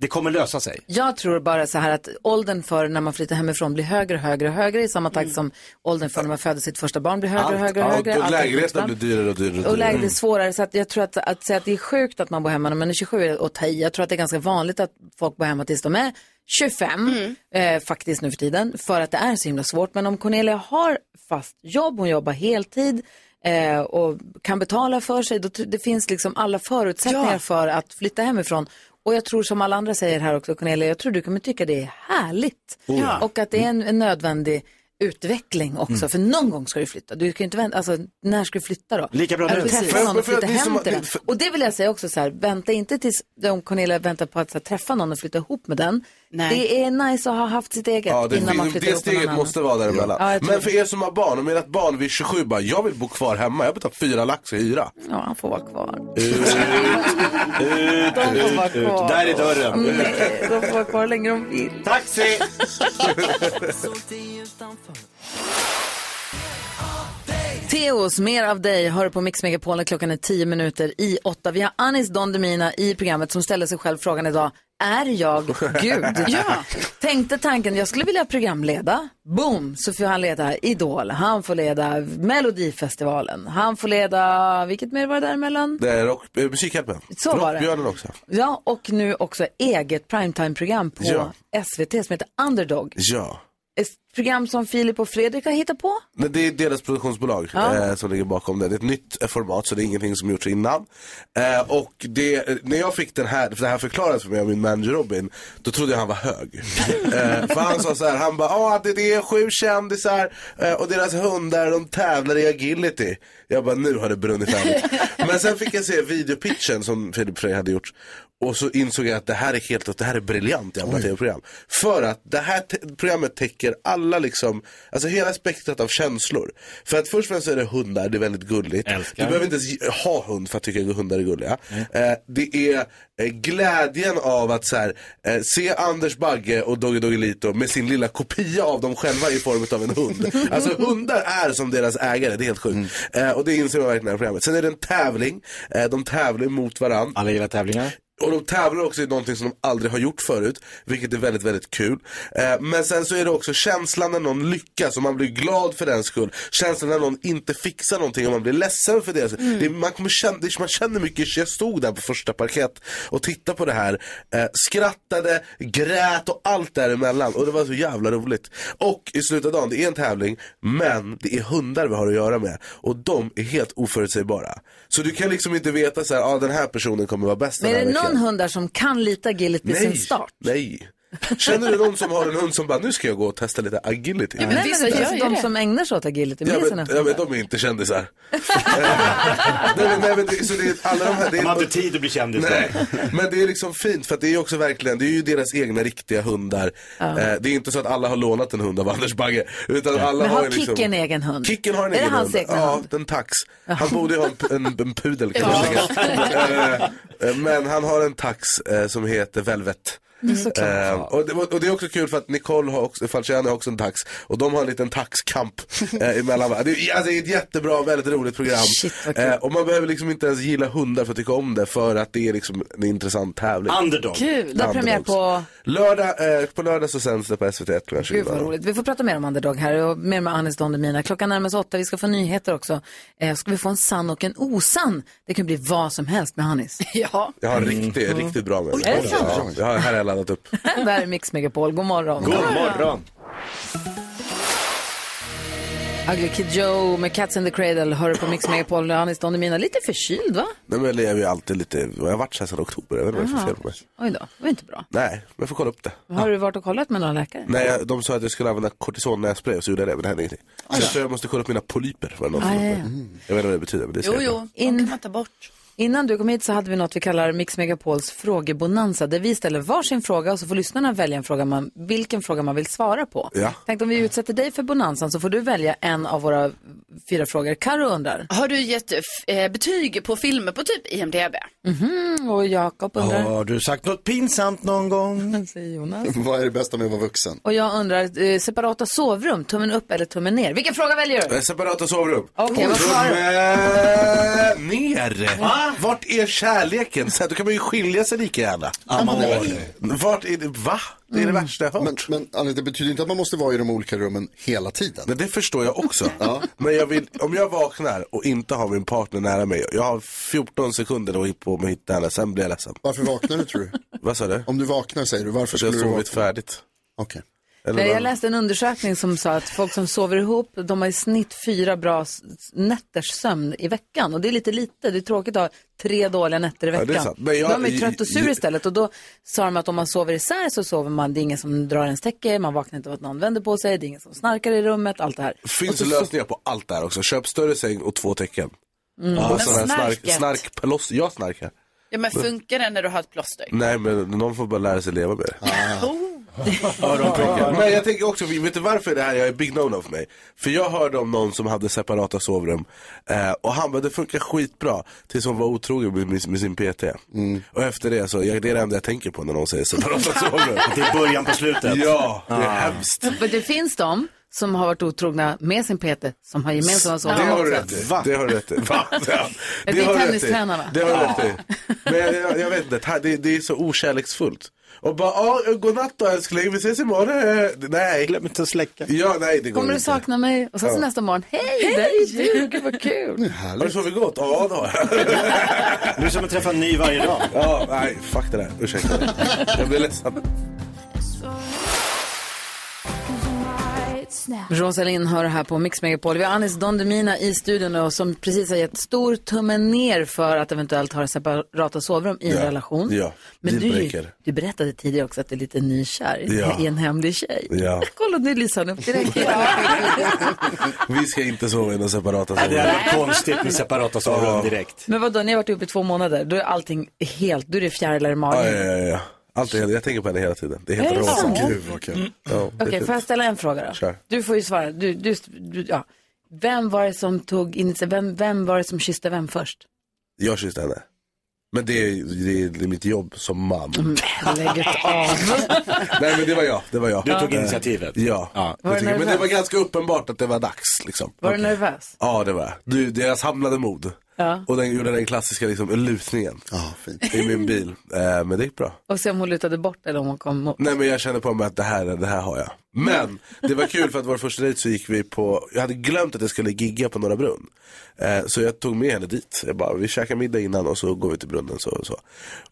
D: Det kommer lösa sig.
A: Jag tror bara så här att åldern för när man flyttar hemifrån blir högre och högre och högre i samma takt som åldern för när man föder sitt första barn blir högre och högre och högre.
P: Ja, och
A: Allt
P: lägenheten
A: fram.
P: blir dyrare och dyrare.
A: Och läget är
P: Mm.
A: svårare. Så att jag tror att, att säga att det är sjukt att man bor hemma när man är 27 är att ta i. Jag tror att det är ganska vanligt att folk bor hemma tills de är 25, eh, faktiskt nu för tiden, för att det är så himla svårt. Men om Cornelia har fast jobb, hon jobbar heltid eh, och kan betala för sig, då, tr- det finns liksom alla förutsättningar
R: Ja.
A: för att flytta hemifrån. Och jag tror som alla andra säger här också, Cornelia, jag tror du kommer tycka det är härligt.
R: Oh ja. Mm.
A: Och att det är en, en nödvändig utveckling också, för någon gång ska du flytta. Du kan ju inte vänta, alltså när ska du flytta då?
D: Lika bra
A: Att
D: nu.
A: du träffar
D: För-
A: någon och
D: för- för-
A: flyttar
D: det är som
A: hem
D: att-
A: till den.
D: det- för-
A: Och det vill jag säga också så här, vänta inte tills om Cornelia väntar på att så här, träffa någon och flytta ihop med den. Det är nice att ha haft sitt eget
P: Ja, det,
A: innan man
P: finns,
A: flyttar ihop
P: det
A: med någon
P: steget
A: annan.
P: måste vara däremellan.
A: Ja, jag tror
P: Men för er som har barn, om ert barn vid 27 bara, jag vill bo kvar hemma, jag betalar fyra lax i hyra.
A: Ja, han får vara kvar.
P: Ut, ut,
A: De får vara kvar.
D: Där är dörren.
A: Nej, de får vara kvar länge de vill.
D: Taxi!
A: Teos, mer av dig, hör på Mix Megapol när klockan är tio minuter i åtta. Vi har Anis Don Demina i programmet som ställer sig själv frågan idag, är jag Gud?
R: Ja.
A: Tänkte tanken, jag skulle vilja programleda. Boom, så får han leda Idol, han får leda Melodifestivalen, han får leda, vilket mer var det däremellan?
P: Det är rock, eh, Musikhjälpen.
A: Så var det.
P: Rockbjörnen också.
A: Ja, och nu också eget primetime-program på
P: Ja.
A: SVT som heter Underdog.
P: Ja.
A: Ett program som Filip och Fredrik har hittat på.
P: Men det är deras produktionsbolag
A: Ja.
P: eh, som ligger bakom det. Det är ett nytt eh, format så det är ingenting som gjorts innan. Eh, och det, eh, när jag fick den här, för det här förklarades för mig av min manager Robin, då trodde jag han var hög. eh, för han sa så här, han bara, ah, det, det är sju kändisar eh, och deras hundar de tävlar i agility. Jag bara, nu har det brunnit färdigt. Men sen fick jag se videopitchen som Filip Frey hade gjort. Och så insåg jag att det här är helt, att det här är briljant jävla tv-program. För att det här te- programmet täcker alla liksom, alltså hela spektrat av känslor. För att först och främst så är det hundar, det är väldigt gulligt. Du behöver inte ens ge- ha hund för att tycka att hundar är gulliga. Eh, det är eh, glädjen av att så här, eh, se Anders Bagge och Dogge Doggelito med sin lilla kopia av dem själva i form av en hund. Alltså hundar är som deras ägare, det är helt sjukt.
D: Mm.
P: Eh, och det inser man verkligen i det här programmet. Sen är det en tävling, eh, de tävlar mot varandra.
D: Alla gillar tävlingar.
P: Och de tävlar också i någonting som de aldrig har gjort förut, vilket är väldigt, väldigt kul. Eh, men sen så är det också känslan när någon lyckas och man blir glad för den skull. Känslan när någon inte fixar någonting och man blir ledsen för det. det man, kommer känna, det man känner mycket, jag stod där på första parkett och tittade på det här, eh, skrattade, grät och allt däremellan. Och det var så jävla roligt. Och i slutet av dagen, det är en tävling, men det är hundar vi har att göra med. Och de är helt oförutsägbara. Så du kan liksom inte veta så här, ah, den här personen kommer vara bäst
A: Men
P: den
A: är
P: här
A: det
P: veckan."
A: någon hund där som kan lita agility i sin
P: Nej,
A: start?
P: nej. Känner du någon som har en hund som bara, nu ska jag gå och testa lite agility?
A: Nej, men det finns de som ägnar sig åt agility med
P: Ja
A: sina
P: men, ja, men de är inte kändisar. nej, men, nej, men det, så det är alla de här. Det är,
D: De har inte tid att bli kändis.
P: nej, men det är liksom fint för att det är ju också verkligen, det är ju deras egna riktiga hundar. Eh, det är inte så att alla har lånat en hund av Anders Bagge. Utan alla
A: Men
P: har
A: har
P: ju
A: Kicken
P: liksom.
A: en egen hund?
P: Kicken har en
A: är
P: egen
A: det hans
P: hund.
A: egna
P: ja,
A: hund?
P: en tax. Han borde ju ha en, en, en pudel kanske. Eh, eh, Men han har en tax eh, som heter Velvet.
A: Mm, såklart.
P: Eh, och, det, var- och det är också kul för att Nicole har också, Falciani har också en tax och de har en liten taxkamp eh, emellan varandra. Det, är- alltså, det är ett jättebra, väldigt roligt program. Eh, och man behöver liksom inte ens gilla hundar för att tycka om det för att det är liksom en intressant tävling.
D: Underdog.
A: Kul. Det har premiär
P: Underdogs.
A: på-
P: Lördag, eh, på lördag så sänds det på SVT klockan 20.
A: Gud vad roligt. Vi får prata mer om Underdog här och mer med Anis Don Demina. Klockan närmar sig åtta, vi ska få nyheter också. Eh, ska vi få en sann och en osann? Det kan bli vad som helst med Anis.
C: Ja.
P: Jag har en riktigt, riktigt bra med
A: Mm. Är det sant?
P: Ja, jag har, här har jag laddat upp.
A: det här är Mix Megapol, god morgon.
P: God morgon.
A: Ugly Kid Joe med Cats in the Cradle hör du på Mix Megapol. Anis Don Demina, lite förkyld va?
P: Nej, men jag är ju alltid lite... Jag har varit så här sedan oktober. Jag vet inte vad det är för
A: Aha.
P: fel på mig.
A: Oj då, det var inte bra.
P: Nej, men jag får kolla upp det.
A: Har du varit och kollat med någon läkare?
P: Nej, jag, de sa att jag skulle använda kortison när jag spray och så gjorde jag det, men det hände ingenting. Så jag tror jag måste kolla upp mina polyper. Var det någon som
A: Ah, ja,
P: sa.
A: ja.
P: Jag vet inte vad det betyder, men det ser jag.
A: In... kan man ta bort. Innan du kom hit så hade vi något vi kallar Mix Megapols frågebonanza där vi ställer varsin fråga och så får lyssnarna välja en fråga man, vilken fråga man vill svara på.
P: Ja.
A: Tänk om vi utsätter dig för bonanzan så får du välja en av våra fyra frågor. Karo undrar.
C: Har du gett eh, betyg på filmer på typ IMDB?
A: Mhm, och Jakob undrar.
D: Har du sagt något pinsamt någon gång?
A: Säger Jonas.
B: Vad är det bästa med att vara vuxen?
A: Och jag undrar, eh, separata sovrum, tummen upp eller tummen ner? Vilken fråga väljer du?
P: Eh, Separata sovrum.
A: Okej, vad svarar
P: Tumme ner.
A: Va?
P: Eh, Vart är kärleken? Så här, då kan man ju skilja sig lika gärna. Vart är det? Va? Det är det värsta jag har
B: hört. Mm. Men, men Annie, det betyder inte att man måste vara i de olika rummen hela tiden.
P: Men det förstår jag också. Men jag vill, om jag vaknar och inte har min partner nära mig, jag har 14 sekunder att på mig att hitta henne, sen blir jag ledsen.
B: Varför vaknar du tror du?
P: Vad sa du?
B: Om du vaknar säger du, varför
P: skulle
B: skulle
P: du
B: du
P: Jag har sovit
B: vakna?
P: färdigt.
B: Okej.
A: Nej, jag läste en undersökning som sa att folk som sover ihop, de har i snitt fyra bra s- nätters sömn i veckan. Och det är lite lite, det är tråkigt att ha tre dåliga nätter i
P: Ja, det är
A: veckan.
P: sant. Men jag-
A: Då är man ju trött och sur
P: jag-
A: istället. Och då sa de att om man sover isär så sover man, det är ingen som drar ens täcke, man vaknar inte av att någon vänder på sig, det är ingen som snarkar i rummet, allt det här.
P: Finns det lösningar på allt det här också? Köp större säng och två tecken.
A: Mm.
P: Ja,
A: Men
P: sån här snark,
A: snarket.
P: snarkploss. Jag snarkar.
R: Ja, men funkar det när du har ett plåster?
P: Nej, men någon får bara lära sig leva med det.
C: Oh.
R: Öronprickar.
P: Men jag tänker också, vet du varför det här är big no-no för mig? För jag hörde om någon som hade separata sovrum eh, och han bara, det funkar skitbra tills hon var otrogen med, med, med sin PT.
D: Mm.
P: Och efter det så, jag, det är det enda jag tänker på när någon säger separata sovrum.
D: Det är början på slutet.
P: Ja, det är
D: Ah.
P: hemskt.
A: Men det finns de som har varit otrogna med sin Peter som har gemensamma
P: Det har du
A: sovrum
P: rätt
A: också.
P: i. Det har du rätt i. Va?
A: Det är
P: har du rätt i.
A: tennistränarna.
P: Det har du rätt i. Men jag, jag, jag vet inte, det, här- det, det är så okärleksfullt. Och bara, ja, godnatt då älskling, vi ses imorgon. Eh, Nej. Glöm inte att släcka. Ja, nej det går
A: Kommer du
P: inte.
A: sakna mig? Och sen så
P: Ja.
A: nästa morgon, hej, där är du, gud vad kul.
P: Har du sovit gott? Ja, det har jag.
D: Du som träffar en ny varje dag.
P: Ja, nej, fuck det där. Ursäkta. Jag blir ledsen.
A: Rosalind hör här på Mix Megapol. Vi har Anis Don Demina i studion och som precis har gett stor tummen ner för att eventuellt ha separata sovrum i en
P: Ja,
A: relation.
P: ja.
A: Men du,
P: Dealbreaker.
A: du berättade tidigare också att du är lite nykär
P: Ja.
A: i en hemlig tjej.
P: Ja.
A: Kolla, nu lyser han upp direkt.
P: Vi ska inte sova i några separata sovrum.
D: det hade varit konstigt med separata sovrum
P: direkt.
A: Men vadå, ni har varit ihop i två månader. Då är allting helt, då är det fjärilar i
P: Ja, ja,
A: magen.
P: ja. ja. Allt är, jag tänker på henne hela tiden. Det är
A: Är
P: helt
A: det sant?
P: rosa.
A: Gud,
P: vad kul. Ja, det är
A: Okej,
P: fint.
A: får jag ställa en fråga då?
P: Kör.
A: Du får ju svara. Du, du, du, ja. Vem var det som tog initiativ? Vem, vem var det som kysste vem först?
P: Jag kysste henne. Men det är, det är mitt jobb som man.
A: Mm. Lägget av.
P: Nej men det var jag, det var jag.
D: Du tog
P: Eh,
D: initiativet.
P: Ja. det
A: Var du
P: tycker jag. men det
A: nervös?
P: var ganska uppenbart att det var dags liksom.
A: Var du nervös?
P: Ja det var jag. Du, det- jag samlade mod.
A: Ja.
P: Och den gjorde den klassiska liksom, lutningen i min bil. Eh, men det gick bra.
A: Och se om hon lutade bort eller om hon kom mot.
P: Nej men jag kände på mig att det här, det här har jag. Men det var kul för att vår första dejt så gick vi på, jag hade glömt att jag skulle gigga på Norra Brunn. Eh, så jag tog med henne dit. Jag bara, vi käkar middag innan och så går vi till brunnen så och så.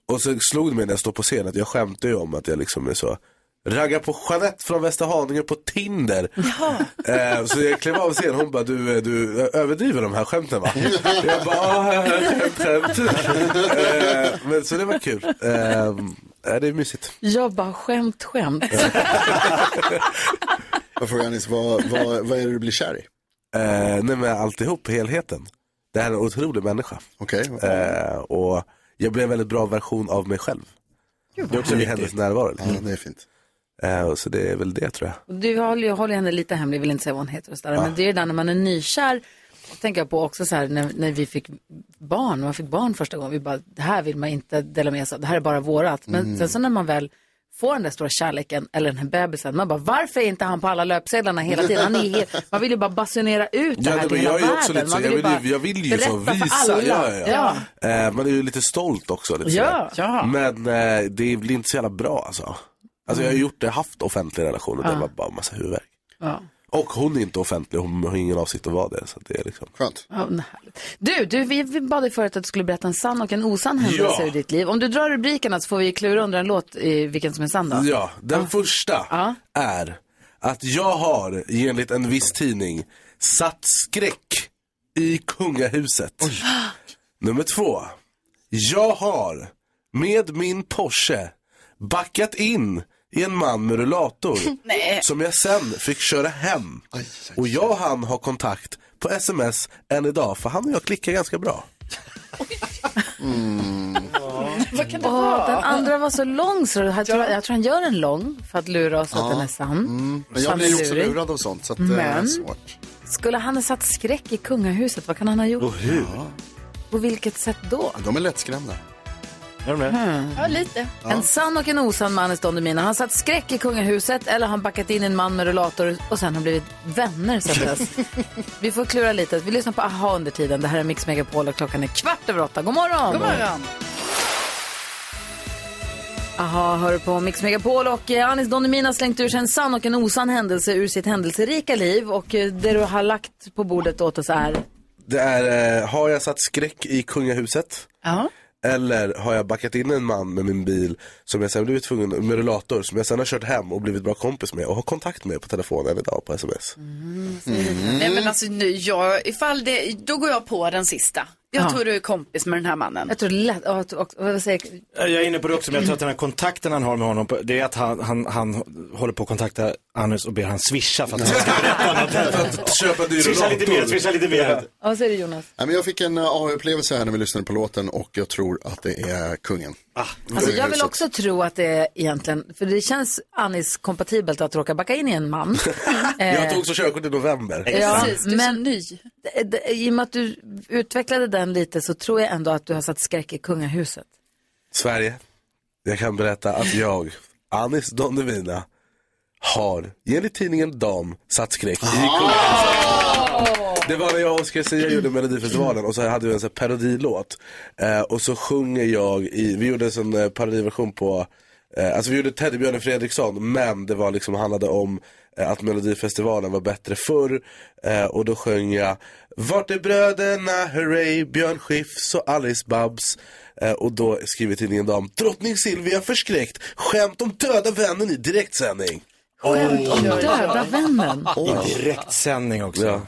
P: Och så slog det mig när jag står på scen att jag skämtar ju om att jag liksom är så Raggar på Jeanette från Västerhaninge på Tinder. Eh, så jag klev av scenen hon bara, du, eh, du överdriver de här skämten va? jag bara, "Ah, skämt, skämt. eh, Men så det var kul. Eh, eh, det är mysigt.
A: Jag bara skämt, skämt.
B: Jag frågar Anis, vad, vad, vad är det du blir kär i?
P: Eh, nej men alltihop, helheten. Det här är en otrolig människa. Eh, och jag blev en väldigt bra version av mig själv.
A: Gud,
P: Det är också i hennes närvaro. liksom.
B: Ja, det är fint.
P: Eh, så det är väl det tror jag.
A: Och Du håller, ju- håller henne lite hemlig, vill inte säga vad hon heter och sådär.
P: Ja.
A: Men det är det där när man är nykär. Och tänker jag på också så här när, när vi fick barn, man fick barn första gången. Vi bara, det här vill man inte dela med sig av, det här är bara vårat. Men
R: Mm.
A: sen så när man väl får den där stora kärleken eller den här bebisen, man bara, varför är inte han på alla löpsedlarna hela tiden? Han är ju helt, man vill ju bara basunera ut det
P: Ja,
A: här
P: nej,
A: till
P: men
A: hela
P: jag är
A: världen.
P: också lite så,
A: man
P: jag vill
A: bara
P: ju, jag vill ju så
A: berätta för
P: visa.
A: alla.
P: Ja, ja, ja. Eh, man är ju lite stolt också. Lite
A: Ja.
P: sådär.
A: Ja.
P: Men eh, det blir inte så jävla bra alltså. Alltså jag har gjort det, haft offentliga relationer där
A: Mm. Ja.
P: det var bara massa huvudvärk.
A: Ja.
P: Och hon är inte offentlig, hon har ingen avsikt att vara det. Så att det är liksom...
B: Skönt.
A: Ja, men härligt. Du, du vi, vi bad dig förut att du skulle berätta en sann och en osann händelse
P: Ja.
A: ur ditt liv. Om du drar rubrikerna så får vi klura under en låt i vilken som är sann då.
P: Ja, den första är att jag har, enligt en viss tidning, Satt skräck i kungahuset. Nummer två. Jag har med min Porsche backat in i en man med rullator
R: Nej.
P: som jag sen fick köra hem. Och jag och han har kontakt på sms än idag för han och jag klickar ganska bra.
R: Vad kan det
A: Åh,
R: vara?
A: den andra var så lång så jag tror, jag tror han gör en lång för att lura oss att den är sann.
B: Mm. Men
A: Så
B: jag
A: han
B: blir ju
A: är
B: också
A: lurig.
B: lurad av sånt, så att, eh, det är
A: Men-
B: svårt.
A: Skulle han ha satt skräck i kungahuset, vad kan han ha gjort?
B: hur?
A: På vilket sätt då?
B: De är lättskrämda.
D: Är de det?
A: Hmm.
R: Ja, lite.
A: En sann och en osann man är stående mina. Han satt skräck i kungahuset eller han backat in en man med rullator och sen har blivit vänner sen dess. Vi får klura lite. Vi lyssnar på Aha under tiden. Det här är Mix Megapol och klockan är kvart över åtta. God morgon!
R: God morgon.
A: Aha, hör du på Mix Megapol och eh, Anis Don Demina har slängt ur sig en sann och en osann händelse ur sitt händelserika liv och eh, det du har lagt på bordet åt oss är
P: Det är, eh, har jag satt skräck i kungahuset?
R: Ja.
P: Eller har jag backat in en man med min bil som jag sen blivit tvungen, med rullator, som jag sen har kört hem och blivit bra kompis med och har kontakt med på telefonen idag på sms. Mm.
A: Mm.
R: Nej men alltså nu, jag, ifall det, då går jag på den sista. Jag
A: Ja.
R: tror du är kompis med den här mannen.
A: Jag tror lätt, ja, att- och, och, vad säger
D: Jag är inne på det också, men jag tror att den här kontakten han har med honom, på- det är att han, han, han håller på att kontakta Anus och ber han swisha för att han ska berätta något.
P: Köpa
D: dyr Swisha lite mer, swisha lite mer.
A: Ja, vad säger du Jonas?
B: Nej, men jag fick en eh, aha-upplevelse här när vi lyssnade på låten och jag tror att det är kungen. Mm.
A: Alltså jag vill
B: Kungahuset.
A: också tro att det är egentligen, för det känns Anis kompatibelt att råka backa in i en man. Eh,
R: Eh.
P: Jag tog också körkort i november.
A: Ja,
R: du är
A: men
R: så ny.
A: d- d- I och med att du utvecklade den lite så tror jag ändå att du har satt skräck i kungahuset.
P: Sverige, jag kan berätta att jag, Anis Don Devina, har enligt tidningen Dam satt skräck i
R: Ah.
P: kungahuset. Det var när jag och Oscar Zia gjorde Melodifestivalen och så hade vi en sån här parodilåt. Eh, och så sjunger jag i, vi gjorde en sån eh, parodiversion på eh, Alltså vi gjorde Teddybjörnen Fredriksson men det var liksom handlade om eh, att Melodifestivalen var bättre förr eh, och då sjöng jag Vart är bröderna, hurray, Björn Skifs och Alice Babs eh, och då skriver tidningen Dam Drottning Silvia förskräckt, skämt om döda vännen i direktsändning.
A: Skämt om döda vännen.
D: I direktsändning också.
P: Ja.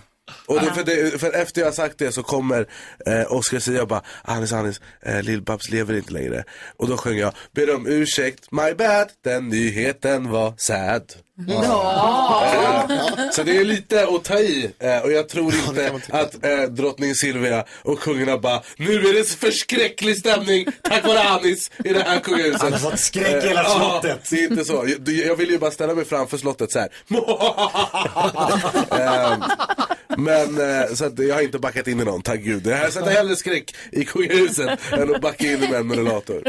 P: Och det, för, det, för efter jag har sagt det så kommer eh, Oscar Zia och bara Anis, Anis, eh, Lill-Babs lever inte längre. Och då sjöng jag, ber om ursäkt, my bad, den nyheten var sad. Eh, Så det är lite att ta i eh, och jag tror inte att eh, drottning Silvia och kungarna bara Nu är det förskräcklig stämning tack vare Anis i det här kungahuset.
D: Han har fått skräck i hela
P: Eh, ja,
D: slottet.
P: Det är inte så. Jag- Jag vill ju bara ställa mig framför slottet så här. Ehm, Men eh, så att jag har inte backat in i någon, tack gud. Jag sätter hellre skräck i kungahuset än att backa in i en med rullator.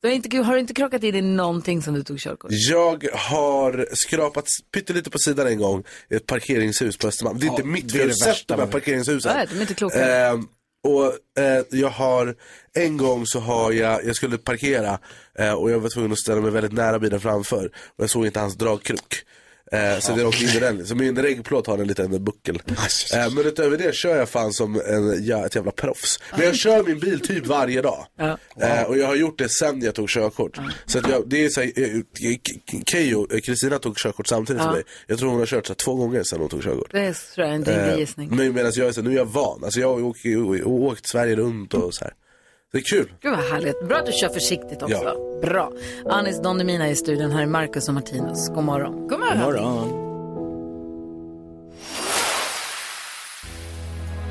A: Du har, inte, har du inte krockat in i någonting som du tog körkort?
P: Jag har skrapat pyttelite på sidan en gång i ett parkeringshus på Östermalm. Det är
A: Ja,
P: inte mitt
A: det är
P: fel,
A: det
P: sett
A: värsta
P: de här
A: med-
P: parkeringshusen.
A: Nej, de är inte kloka.
P: Ehm, och eh, jag har, en gång så har jag, jag skulle parkera eh, och jag var tvungen att ställa mig väldigt nära bilen framför. Och jag såg inte hans dragkrok. Eh, så det åkte in i den. Så min reggplåt har en liten buckel. Eh, men utöver det kör jag fan som en, ja, ett jävla proffs. Men jag kör min bil typ varje dag. Eh, och jag har gjort det sen jag tog körkort. Så att jag, det är så här, eh, K- K- Keyyo, eh, Kristina tog körkort samtidigt
A: Ja.
P: som mig. Jag tror hon har kört så här, två gånger sen hon tog körkort. Eh,
A: Det tror jag är en
R: Eh,
A: rimlig gissning.
P: men medan jag är så här, nu är jag van. Alltså jag har åkt, åkt Sverige runt och så här. Det är kul.
A: Gud vad härligt. Bra att du kör försiktigt också.
P: Ja.
A: Bra. Anis Don Demina är i studion. Här är Marcus och Martinus. God morgon.
R: God morgon.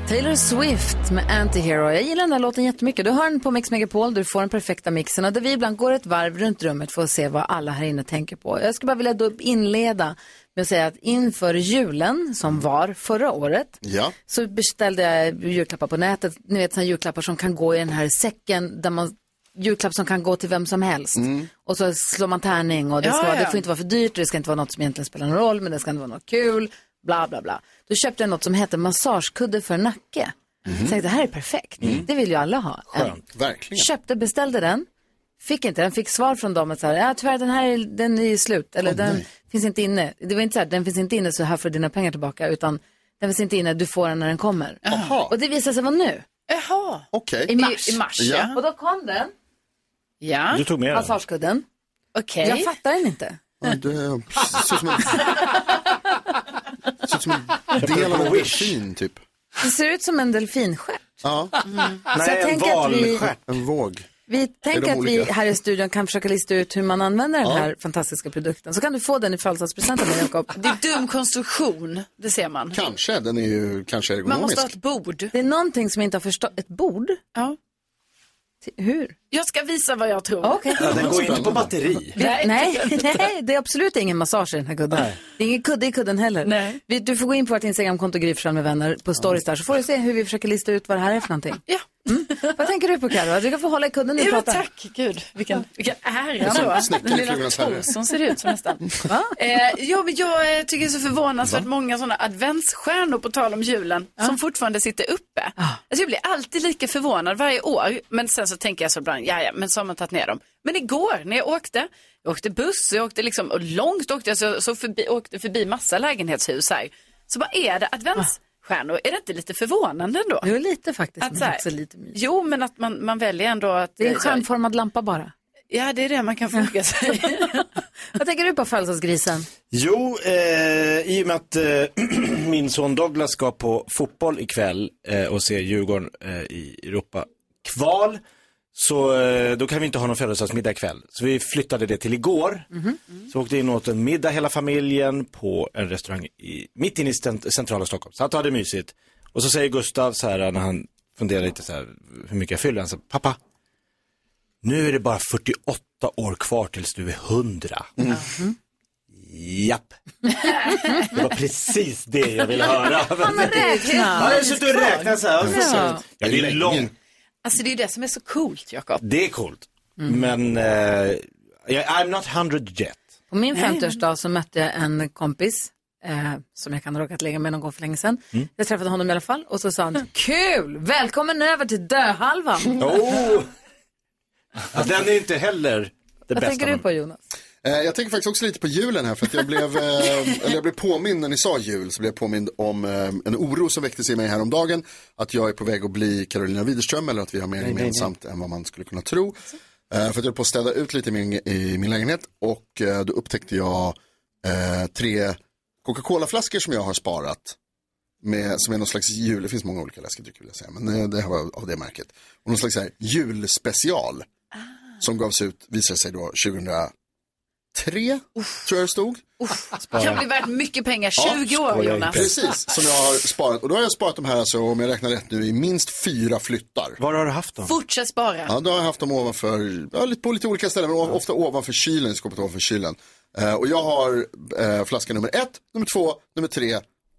A: Taylor Swift med Antihero. Jag gillar den här låten jättemycket. Du hör den på Mix Megapol, du får den perfekta mixen och där vi ibland går ett varv runt rummet för att se vad alla här inne tänker på. Jag skulle bara vilja då inleda med att säga att inför julen, som var förra året,
B: Ja.
A: så beställde jag julklappar på nätet. Ni vet sådana julklappar som kan gå i den här säcken där man julklapp som kan gå till vem som helst. Och så slår man tärning och det, ska,
R: Ja, ja.
A: det får inte vara för dyrt, det ska inte vara något som egentligen spelar någon roll, men det ska inte vara något kul, bla bla bla. Då köpte jag något som hette massagekudde för nacke. Jag Tänkte, det här är perfekt, det vill ju alla ha. Eh,
B: Skönt, verkligen.
A: Köpte, beställde den, fick inte den, fick svar från dem att så här, ja tyvärr den här är, den är ju slut, eller den finns inte inne. Det var inte så här, den finns inte inne så här får du dina pengar tillbaka, utan den finns inte inne, du får den när den kommer. Och det visade sig vara nu.
R: Jaha.
B: Okej.
A: I mars.
R: I mars, ja.
A: Och då kom den.
R: Ja.
D: Du tog med den.
A: Massagekudden.
R: Okej.
A: Jag fattar den inte.
B: Ja, det ser ut som en Ser ut som en
A: Köpte
B: del av
A: på
B: en
A: Wish.
B: delfin typ.
A: Det ser ut som en delfinstjärt.
B: Ja.
A: Mm. Så jag tänker att vi,
B: En våg.
A: vi tänker
B: de
A: att vi
B: olika?
A: här i studion kan försöka lista ut hur man använder
B: Ja.
A: den här fantastiska produkten. Så kan du få den i födelsedagspresent av mig, Jakob.
C: Det är dum konstruktion, det ser man.
B: Kanske, den är ju kanske
C: Man måste
B: ergonomisk.
C: ha ett bord.
A: Det är någonting som jag inte har förstått. Ett bord?
C: Ja.
A: Hur?
C: Jag ska visa vad jag tror.
A: Okej. Ja, den går inte på
D: batteri.
A: Nej, nej, nej, det är absolut ingen massage i den här kudden. Det är ingen kudde i kudden heller.
C: Nej.
A: Vi, du får gå in på vårt Instagramkonto Gry Forssell med vänner på stories där så får du se hur vi försöker lista ut vad det här är för någonting.
C: Ja.
A: Mm. Vad tänker du på Carro? Du kan få hålla i kudden när du
C: Jo,
A: pratar.
C: tack. Gud, vilken, vilken
A: Det är
C: ära
A: som
C: då.
A: snäckan i
C: Den lilla
A: Flugornas herre.
C: Torsson ser det ut som nästan. eh, ja, men jag eh, tycker det är så förvånansvärt många sådana adventsstjärnor på tal om julen som fortfarande sitter uppe. Alltså, jag blir alltid lika förvånad varje år, men sen så tänker jag så ibland, ja, ja, men så har man tagit ner dem. Men igår när jag åkte, jag åkte buss, jag åkte liksom, och långt åkte jag, så, så förbi, åkte förbi massa lägenhetshus här. Så vad är det adventsstjärnor? Är det inte lite förvånande ändå?
A: Jo, lite faktiskt.
C: Att,
A: men
C: så här,
A: också lite
C: jo, men att man, man väljer ändå att... eh,
A: Det är en stjärnformad lampa bara.
C: Ja, det är det man kan fråga sig.
A: Vad tänker du på födelsedagsgrisen?
D: Jo, eh, i och med att eh, min son Douglas ska på fotboll ikväll eh, och se Djurgården eh, i Europa kval. Så eh, då kan vi inte ha någon födelsedagsmiddag ikväll. Så vi flyttade det till igår. Så åkte in och åt en middag hela familjen på en restaurang i, mitt inne i cent- centrala Stockholm. Så att hade det mysigt. Och så säger Gustav så här när han funderar lite så här hur mycket jag fyller. Han säger, pappa, nu är det bara 48 år kvar tills du är 100. Japp. Det var precis det jag ville höra.
C: Han har räknat.
D: Ja, jag sitter och räknar så här.
C: Ja.
D: Jag blir lång.
C: Alltså det är ju det som är så coolt, Jakob.
D: Det är coolt. Men eh, jag- I'm not 100 yet.
A: På min
C: Nej.
A: 50-årsdag så mötte jag en kompis eh, som jag kan ha råkat lägga med någon gång för länge sedan.
D: Mm.
A: Jag träffade honom i alla fall och så sa
C: Mm.
A: han kul, välkommen över till döhalvan.
D: Oh. Ja, Den är inte heller det
A: Vad
D: bästa.
A: tänker du på Jonas?
B: Eh, Jag tänker faktiskt också lite på julen här för att jag blev, eh, eller jag blev påmind när ni sa jul så blev jag påmind om eh, en oro som väcktes i mig häromdagen att jag är på väg att bli Carolina Widerström eller att vi har mer
D: Nej, nej, nej.
B: gemensamt än vad man skulle kunna tro. Eh, För att jag höll på att städa ut lite i min, i min lägenhet och eh, då upptäckte jag eh, tre Coca-Cola-flaskor som jag har sparat. Med, som är någon slags jul, det finns många olika läskedrycker vill jag säga, men eh, det här var av det märket. Och någon slags så här, julspecial
D: Ah.
B: som gavs ut, visade sig då 2000 tre, tror jag det stod.
C: Det kan bli värt mycket pengar, 20
B: Ja,
C: år Jonas.
B: Precis, som jag har sparat. Och då har jag sparat de här, alltså, om jag räknar rätt nu, i minst fyra flyttar.
D: Var har du haft dem?
C: Fortsätt spara.
B: Ja, då har jag haft dem ovanför, ja, lite på lite olika ställen, men o- ofta ovanför kylen, i skåpet ovanför kylen. Eh, och jag har eh, flaska nummer ett, nummer två, nummer tre,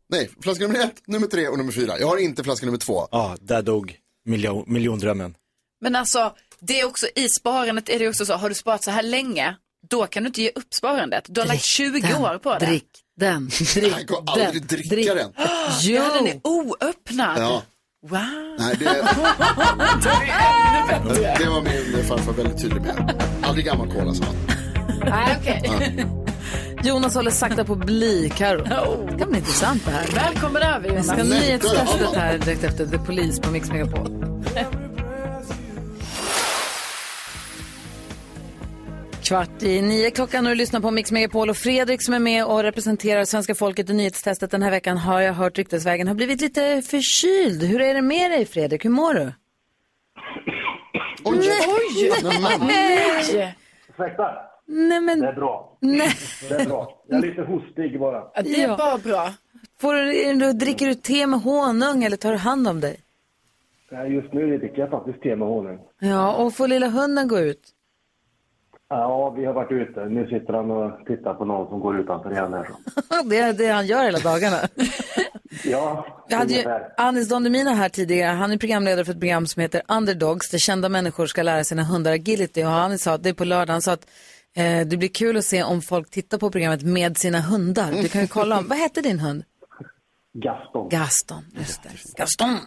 B: nej, flaska nummer ett, nummer tre och nummer fyra. Jag har inte flaska nummer två.
D: Ja, där dog miljon, miljondrömmen.
C: Men alltså, det är också i sparandet är det också så, har du sparat så här länge, då kan du inte ge upp sparandet. Du har lagt 20 år på det.
A: Drick den, drick
B: Jag går aldrig dricka den.
C: Jo. Den är oöppnad.
B: Ja.
C: Wow.
B: Nej, det, det var min farfar väldigt tydlig med. Aldrig gammal alltså. cola, sa han.
A: Nej, okej. Jonas håller sakta på att bli Carro. Det kan bli intressant det här.
C: Välkommen över
A: Vi
C: Jonas.
A: ska ha nyhetstestet här direkt efter The Police på Mix Megapol. Kvart i nio klockan och du lyssnar på Mix Megapol och Fredrik som är med och representerar svenska folket i nyhetstestet den här veckan har jag hört ryktesvägen har blivit lite förkyld. Hur är det med dig Fredrik? Hur mår du?
F: Oj,
A: oj,
F: oj.
A: nej.
F: Ursäkta.
A: Nej men...
F: Det är bra.
A: Nej.
F: Det är bra. Jag är lite hostig bara.
C: Ja, det är
A: Ja.
C: bara bra.
A: Får du, är du- dricker du te med honung eller tar du hand om dig?
F: Nej, Just nu dricker jag faktiskt te med honung.
A: Ja, och får lilla hunden gå ut?
F: Ja, vi har varit ute. Nu sitter han och tittar på någon som går utanför igen här.
A: Det är det han gör hela dagarna.
F: Ja,
A: Vi hade ju
F: ungefär.
A: Anis Don Demina här tidigare. Han är programledare för ett program som heter Underdogs där kända människor ska lära sina hundar agility. Och Anis sa att det är på lördag. Han sa att eh, det blir kul att se om folk tittar på programmet med sina hundar. Du kan ju kolla om. Vad hette din hund?
F: Gaston.
A: Gaston, just det. Gaston.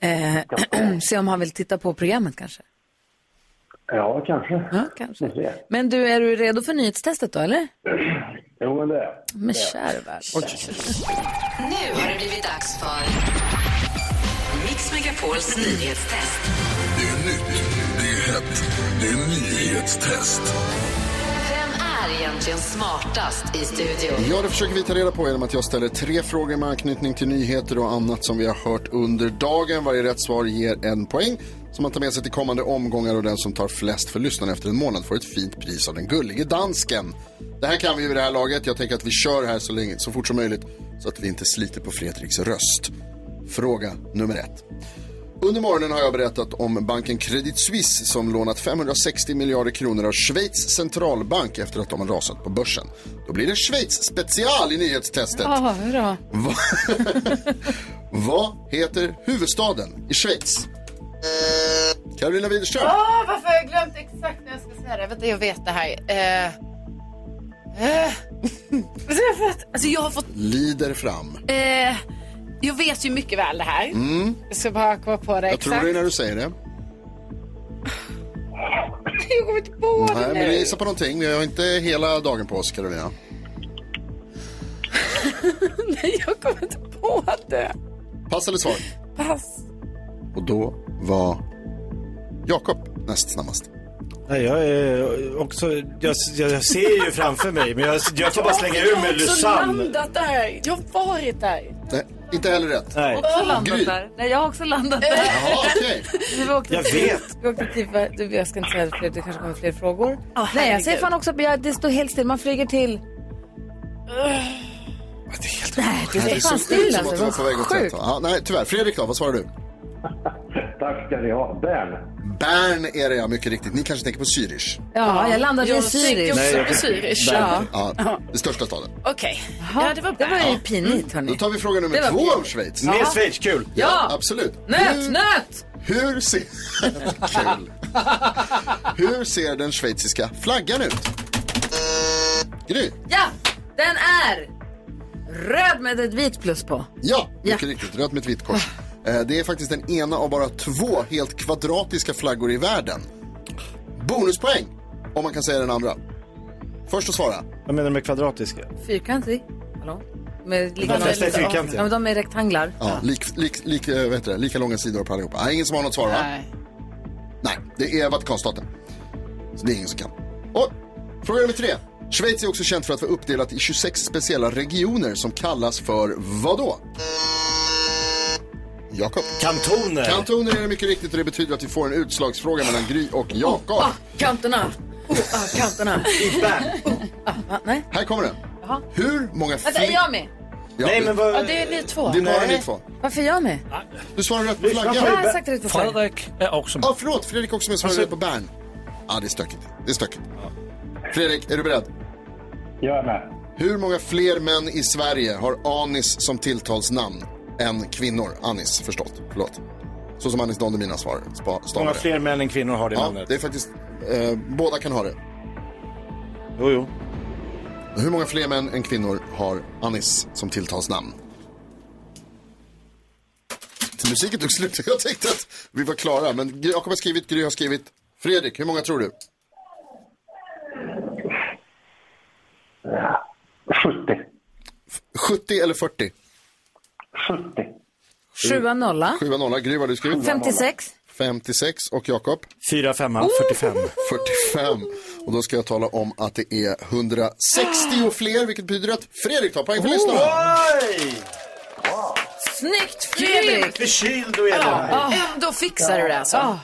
A: Eh, se om han vill titta på programmet kanske.
F: Ja, kanske.
A: Ja, kanske.
F: Vi får se.
A: Men du, är du redo för nyhetstestet då, eller?
F: Jo, men det är jag.
A: Men kära värld.
Q: Nu har det blivit dags för Mix Megapols nyhetstest.
S: Det är nytt, det är hett, det är nyhetstest.
Q: Vem är egentligen egentligen smartast i studion?
B: Ja, det försöker vi ta reda på genom att jag ställer tre frågor med anknytning till nyheter och annat som vi har hört under dagen. Varje rätt svar ger en poäng som man tar med sig till kommande omgångar och den som tar flest för lyssnarna efter en månad får ett fint pris av den gullige dansken. Det här kan vi ju vid det här laget. Jag tänker att vi kör här så, länge, så fort som möjligt så att vi inte sliter på Fredriks röst. Fråga nummer ett. Under morgonen har jag berättat om banken Credit Suisse som lånat 560 miljarder kronor av Schweiz centralbank efter att de har rasat på börsen. Då blir det Schweiz special i nyhetstestet.
A: Ja, hurra.
B: Va- Vad heter huvudstaden i Schweiz? Carolina Widerström.
C: Ah!
R: Åh, varför har jag glömt exakt när jag ska säga det? Vänta, jag vet det här. Eh, eh. Alltså, jag har fått- Alltså, jag har fått...
B: Lider fram.
R: Eh, jag vet ju mycket väl det här.
B: Mm.
R: Jag ska bara komma på det
B: Jag tror
R: exakt.
B: det när du säger det.
R: Jag kommer inte på
B: Nej,
R: det
B: men vi
R: nu.
B: gissar på någonting. Vi har inte hela dagen på oss, Carolina.
R: Nej, jag kommer inte på det.
B: Pass eller svar?
R: Pass.
B: Och då var Jakob näst snabbast.
D: Nej, jag, är också, jag, jag ser ju framför mig, men jag, jag får bara slänga ur
R: Jag
D: mig
R: har också
D: Lysanne.
R: landat där. Jag har varit där.
B: Nej, inte heller rätt.
D: Nej.
A: Också
D: Gry.
A: landat där. Nej, jag har också landat där. Vi åkte
D: Jag
A: till-
D: vet.
A: Vi åkte till, du, jag ska inte säga det, för det kanske kommer fler frågor. Nej, jag säger fan också att jag- det står helt still. Man flyger till... Nej, det är fan still
B: att
A: alltså.
B: du var på väg åt
A: Sjukt.
B: rätt håll. ja, Nej, tyvärr. Fredrik då, vad svarar du?
T: Tack ska ni ha. Bern.
B: Bern är det ja, mycket riktigt. Ni kanske tänker på Zürich?
A: Ja, jag landade i
R: Jag
A: Zürich.
R: tänkte också Nej, jag- på Zürich.
B: Bern.
R: Ja.
B: Ja, det största staden.
R: Okej. Ja, det var bra.
A: Det är pinigt, hörni.
B: Då tar vi fråga
A: Det var
B: nummer två
A: kul.
B: om Schweiz.
A: Mer Ja.
D: Schweiz, kul.
B: Ja,
A: Ja.
B: absolut.
A: Nöt, nöt!
B: Hur ser... kul. Hur ser den schweiziska flaggan ut? Gry?
A: Ja, den är röd med ett vitt plus på.
B: Ja, mycket riktigt. Rött med ett vitt kors. Eh, Det är faktiskt den ena av bara två helt kvadratiska flaggor i världen. Bonuspoäng om man kan säga den andra. Först att svara.
D: Vad menar du med kvadratiska?
A: Fyrkantig. Hallå? Med
D: De flesta är fyrkantiga.
A: Ja, men de är rektanglar.
B: Ja, lik, lik, lik, eh, vad heter det? Lika långa sidor på allihopa. Nej, ingen som har något svar va? Nej. Nej, det är Vatikanstaten. Så det är ingen som kan. Och, fråga nummer tre. Schweiz är också känt för att vara uppdelat i 26 speciella regioner som kallas för vad då? Jakob.
D: Kantoner.
B: Kantoner är det mycket riktigt och det betyder att vi får en utslagsfråga mellan Gry och Jakob.
A: Ah, kanterna. Oh, ah, kanterna.
B: Här kommer den. Hur många
A: Vänta, är jag med?
B: Ja,
D: Nej,
B: du-
D: men vad-
R: Ja, det är ni två.
B: Det är bara
R: Nej.
B: ni två.
A: Varför är jag med?
B: Du svarar rätt på
A: Lyssna
B: flaggan.
A: på Jag har Bern. sagt rätt på flaggan.
E: Fredrik är också med.
B: Ja, förlåt. Fredrik också med svarar
E: Alltså-
B: rätt på Bern. Ja, det är stökigt. Det är stökigt. Fredrik, är du beredd?
T: Jag är med.
B: Hur många fler män i Sverige har Anis som tilltalsnamn än kvinnor? Anis, förstått. Förlåt. Så som Anis Don Demina svarar. Spa, stavar
D: Många
B: det.
D: fler män än kvinnor har det
B: Ja,
D: namnet.
B: det är faktiskt... Eh, båda kan ha det.
D: Jo, jo.
B: Hur många fler män än kvinnor har Anis som tilltalsnamn? Till musiken tog slut. Jag tänkte att vi var klara, men Gry- Jakob har skrivit, Gry har skrivit. Fredrik, hur många tror du? 70. 70 eller 40? 70.
A: Sjua nolla.
B: 7 nolla. Gry, vad har du skrivit?
A: 56.
B: 56 och Jakob?
D: 4, 5, 45.
B: 45. Och då ska jag tala om att det är 160 och fler, vilket betyder att Fredrik tar poäng för lyssnarna.
D: Oj!
A: Snyggt Fredrik! Ah.
D: Förkyld och
A: Ja, ändå fixar du det alltså. Ja.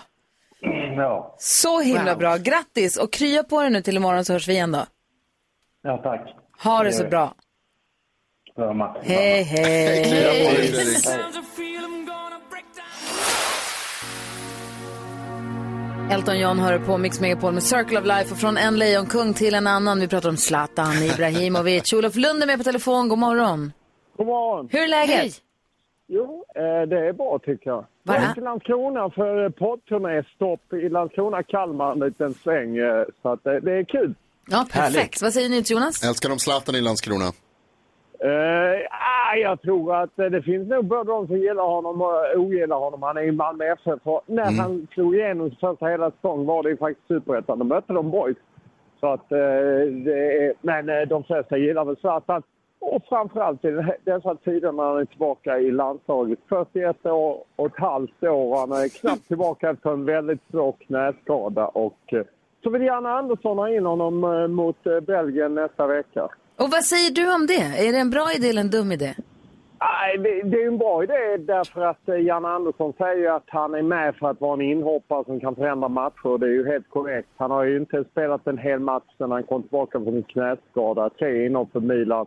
T: Ja.
A: Så himla bra. Grattis och krya på dig nu till imorgon så hörs vi igen då.
T: ja, tack.
A: Ha det så bra.
T: Detsamma.
A: Hej, hej.
T: Krya på dig, Fredrik.
A: Elton John hör på Mix Megapol med Circle of Life och från en lejonkung till en annan. Vi pratar om Zlatan Ibrahimovic. Olof Lund är med på telefon. God morgon.
U: God morgon.
A: Hur är läget?
U: Hej. Jo, eh, det är bra tycker jag.
A: Va?
U: Jag är till Landskrona för eh, poddturnéstopp i Landskrona-Kalmar en liten sväng. eh, Så att det, det är kul.
A: Ja, perfekt.
U: Härligt.
A: Vad säger ni till Jonas?
B: Älskar de Zlatan i Landskrona?
U: Eh, ah, jag tror att eh, det finns nog både de som gillar honom och ogillar honom. Han är i Malmö FF. och När
B: Mm.
U: han slog igenom sin första hela säsong var det ju faktiskt superettan. De mötte de boys. Så att, eh, det är, men eh, de flesta gillar väl Zlatan. Och framförallt i den här- dessa tider när han är tillbaka i landslaget. 41 år och ett halvt år och han är knappt tillbaka efter en väldigt svår knäskada. Och, eh, så vill Janne Andersson ha in honom eh, mot eh, Belgien nästa vecka.
A: Och vad säger du om det? Är det en bra idé eller en dum idé?
U: Nej, det, det är en bra idé därför att eh, Janne Andersson säger ju att han är med för att vara en inhoppare som kan förändra matcher. Det är ju helt korrekt. Han har ju inte spelat en hel match sedan han kom tillbaka från sin knäskada. Tre inhopp för Milan.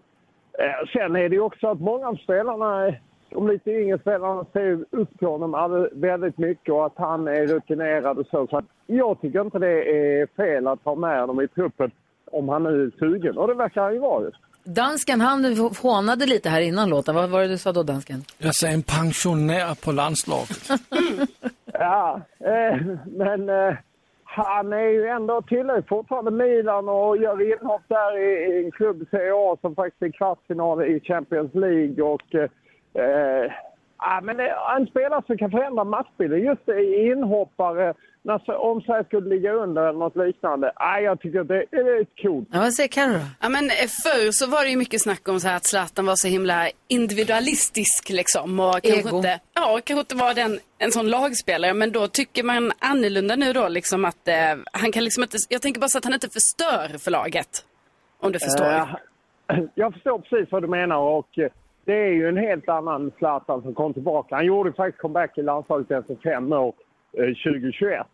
U: Eh, Sen är det ju också att många av spelarna, de lite yngre spelarna, ser ju upp på honom all- väldigt mycket och att han är rutinerad och så. så att jag tycker inte det är fel att ha med honom i truppen om han nu är sugen. Och det verkar han ju vara. ju.
A: Dansken, han hånade lite här innan låten. Vad var det du sa då, dansken?
E: Jag säger en pensionär på landslaget.
U: Ja, eh, men eh, han är ju ändå tillhör fortfarande Milan och gör inhopp där i, i en klubb i Serie A som faktiskt är kvartsfinal i Champions League. Och, eh, eh, ja, men det, en spelare som kan förändra matchbilden, just i inhoppare, när, så- om Sverige skulle ligga under eller något liknande. Ja, jag tycker det, det är coolt.
A: Ja, vad säger Carro då?
R: Ja, men eh, förr så var det ju mycket snack om så här att Zlatan var så himla individualistisk liksom. Och
A: Ego.
R: Kanske inte, ja, och kanske inte var den, en sån lagspelare. Men då tycker man annorlunda nu då liksom att eh, han kan liksom inte, jag tänker bara så att han inte förstör för laget. Om du förstår.
U: Eh, Jag förstår precis vad du menar och eh, det är ju en helt annan Zlatan som kom tillbaka. Han gjorde faktiskt comeback i landslaget efter fem år, eh, 2021.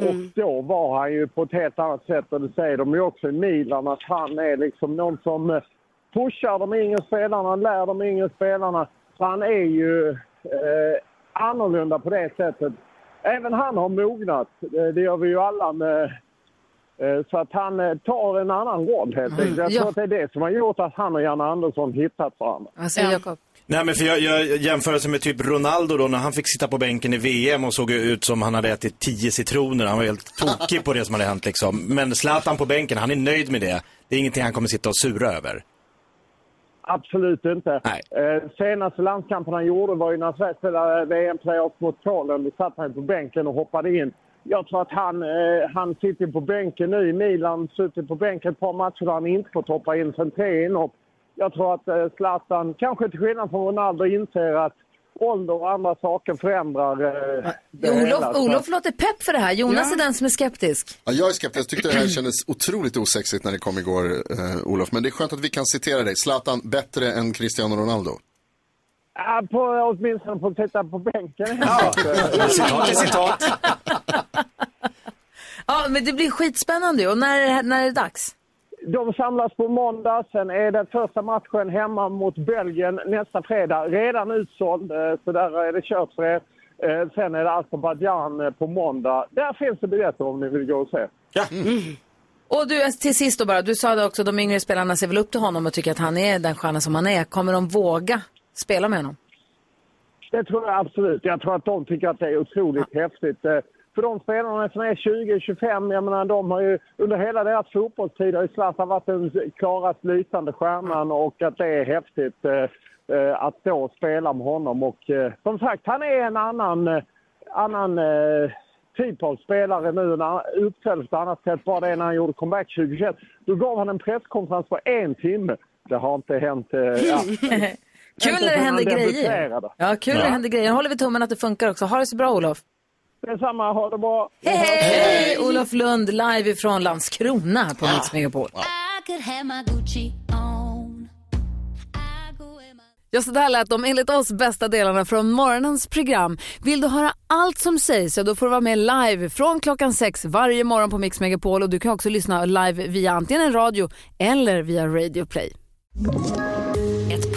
R: Mm.
U: Och då var han ju på ett helt annat sätt och det säger de ju också i Milan att han är liksom någon som eh, pushar de yngre spelarna, lär de yngre spelarna. Så han är ju eh, annorlunda på det sättet. Även han har mognat, Eh, det gör vi ju alla med Eh, Så att han eh, tar en annan roll helt enkelt. Jag
A: Mm.
U: tror
A: Ja.
U: att det är det som har gjort att han och Janne Andersson hittat varandra.
A: Vad säger Alltså, Jakob?
D: Nej men för jag, jag jämförelse med typ Ronaldo då när han fick sitta på bänken i VM och såg ut som han hade ätit tio citroner. Han var helt tokig på det som hade hänt liksom. Men Zlatan på bänken, han är nöjd med det. Det är ingenting han kommer sitta och sura över.
U: Absolut inte. Eh, senaste landskampen han gjorde var ju när Sverige spelade eh, VM-playoff mot Polen. Då satt han på bänken och hoppade in. Jag tror att han, eh, han sitter på bänken nu i Milan. Suttit på bänken ett par matcher där han inte fått hoppa in sen tre inhopp. Jag tror att eh, Zlatan, kanske till skillnad från Ronaldo, inser att ålder och andra saker förändrar eh, det hela.
A: Olof,
U: Så-
A: Olof låter pepp för det här. Jonas
U: Ja.
A: är den som är skeptisk.
B: Ja, jag är skeptisk. Jag tyckte det här kändes otroligt osexigt när det kom igår, eh, Olof. Men det är skönt att vi kan citera dig. Zlatan, bättre än Cristiano Ronaldo.
U: Ja, på, åtminstone på att sitta på bänken.
D: Citat är citat.
A: Ja, men det blir skitspännande ju. Och när, är det här- när är det dags?
U: De samlas på måndag, sen är den första matchen hemma mot Belgien nästa fredag. Redan utsåld, eh, så där är det kört för er. Eh, Sen är det Azerbajdzjan eh, på måndag. Där finns det biljetter om ni vill gå och se.
D: Ja. Mm.
A: Och du, till sist då bara, du sa det också, de yngre spelarna ser väl upp till honom och tycker att han är den stjärna som han är. Kommer de våga spela med honom?
U: Det tror jag absolut. Jag tror att de tycker att det är otroligt häftigt. Eh, För de spelarna som är 20-25, jag menar de har ju under hela deras fotbollstid har ju Zlatan varit den klarast lysande stjärnan och att det är häftigt eh, eh, att då spela med honom. Och eh, som sagt, han är en annan, eh, annan eh, typ av spelare nu. När han uppträdde på ett annat sätt, bara det när han gjorde comeback 2021. Då gav han en presskonferens på en timme. Det har inte hänt... Eh, ja.
A: Kul när det
U: Sen
A: händer
U: han
A: grejer.
U: debuterade.
A: Ja, kul när det händer grejer. Nu håller vi tummen att det funkar också. Ha det så bra, Olof.
U: Detsamma, ha det bra.
A: Hej, hej! Olof Lund live ifrån Landskrona på Mix Megapol.
M: I could have my Gucci on.
Q: Ja, så där lät de enligt oss bästa delarna från morgonens program. Vill du höra allt som sägs så då får du vara med live från klockan sex varje morgon på Mix Megapol och du kan också lyssna live via antingen en radio eller via Radio Play.
V: Ett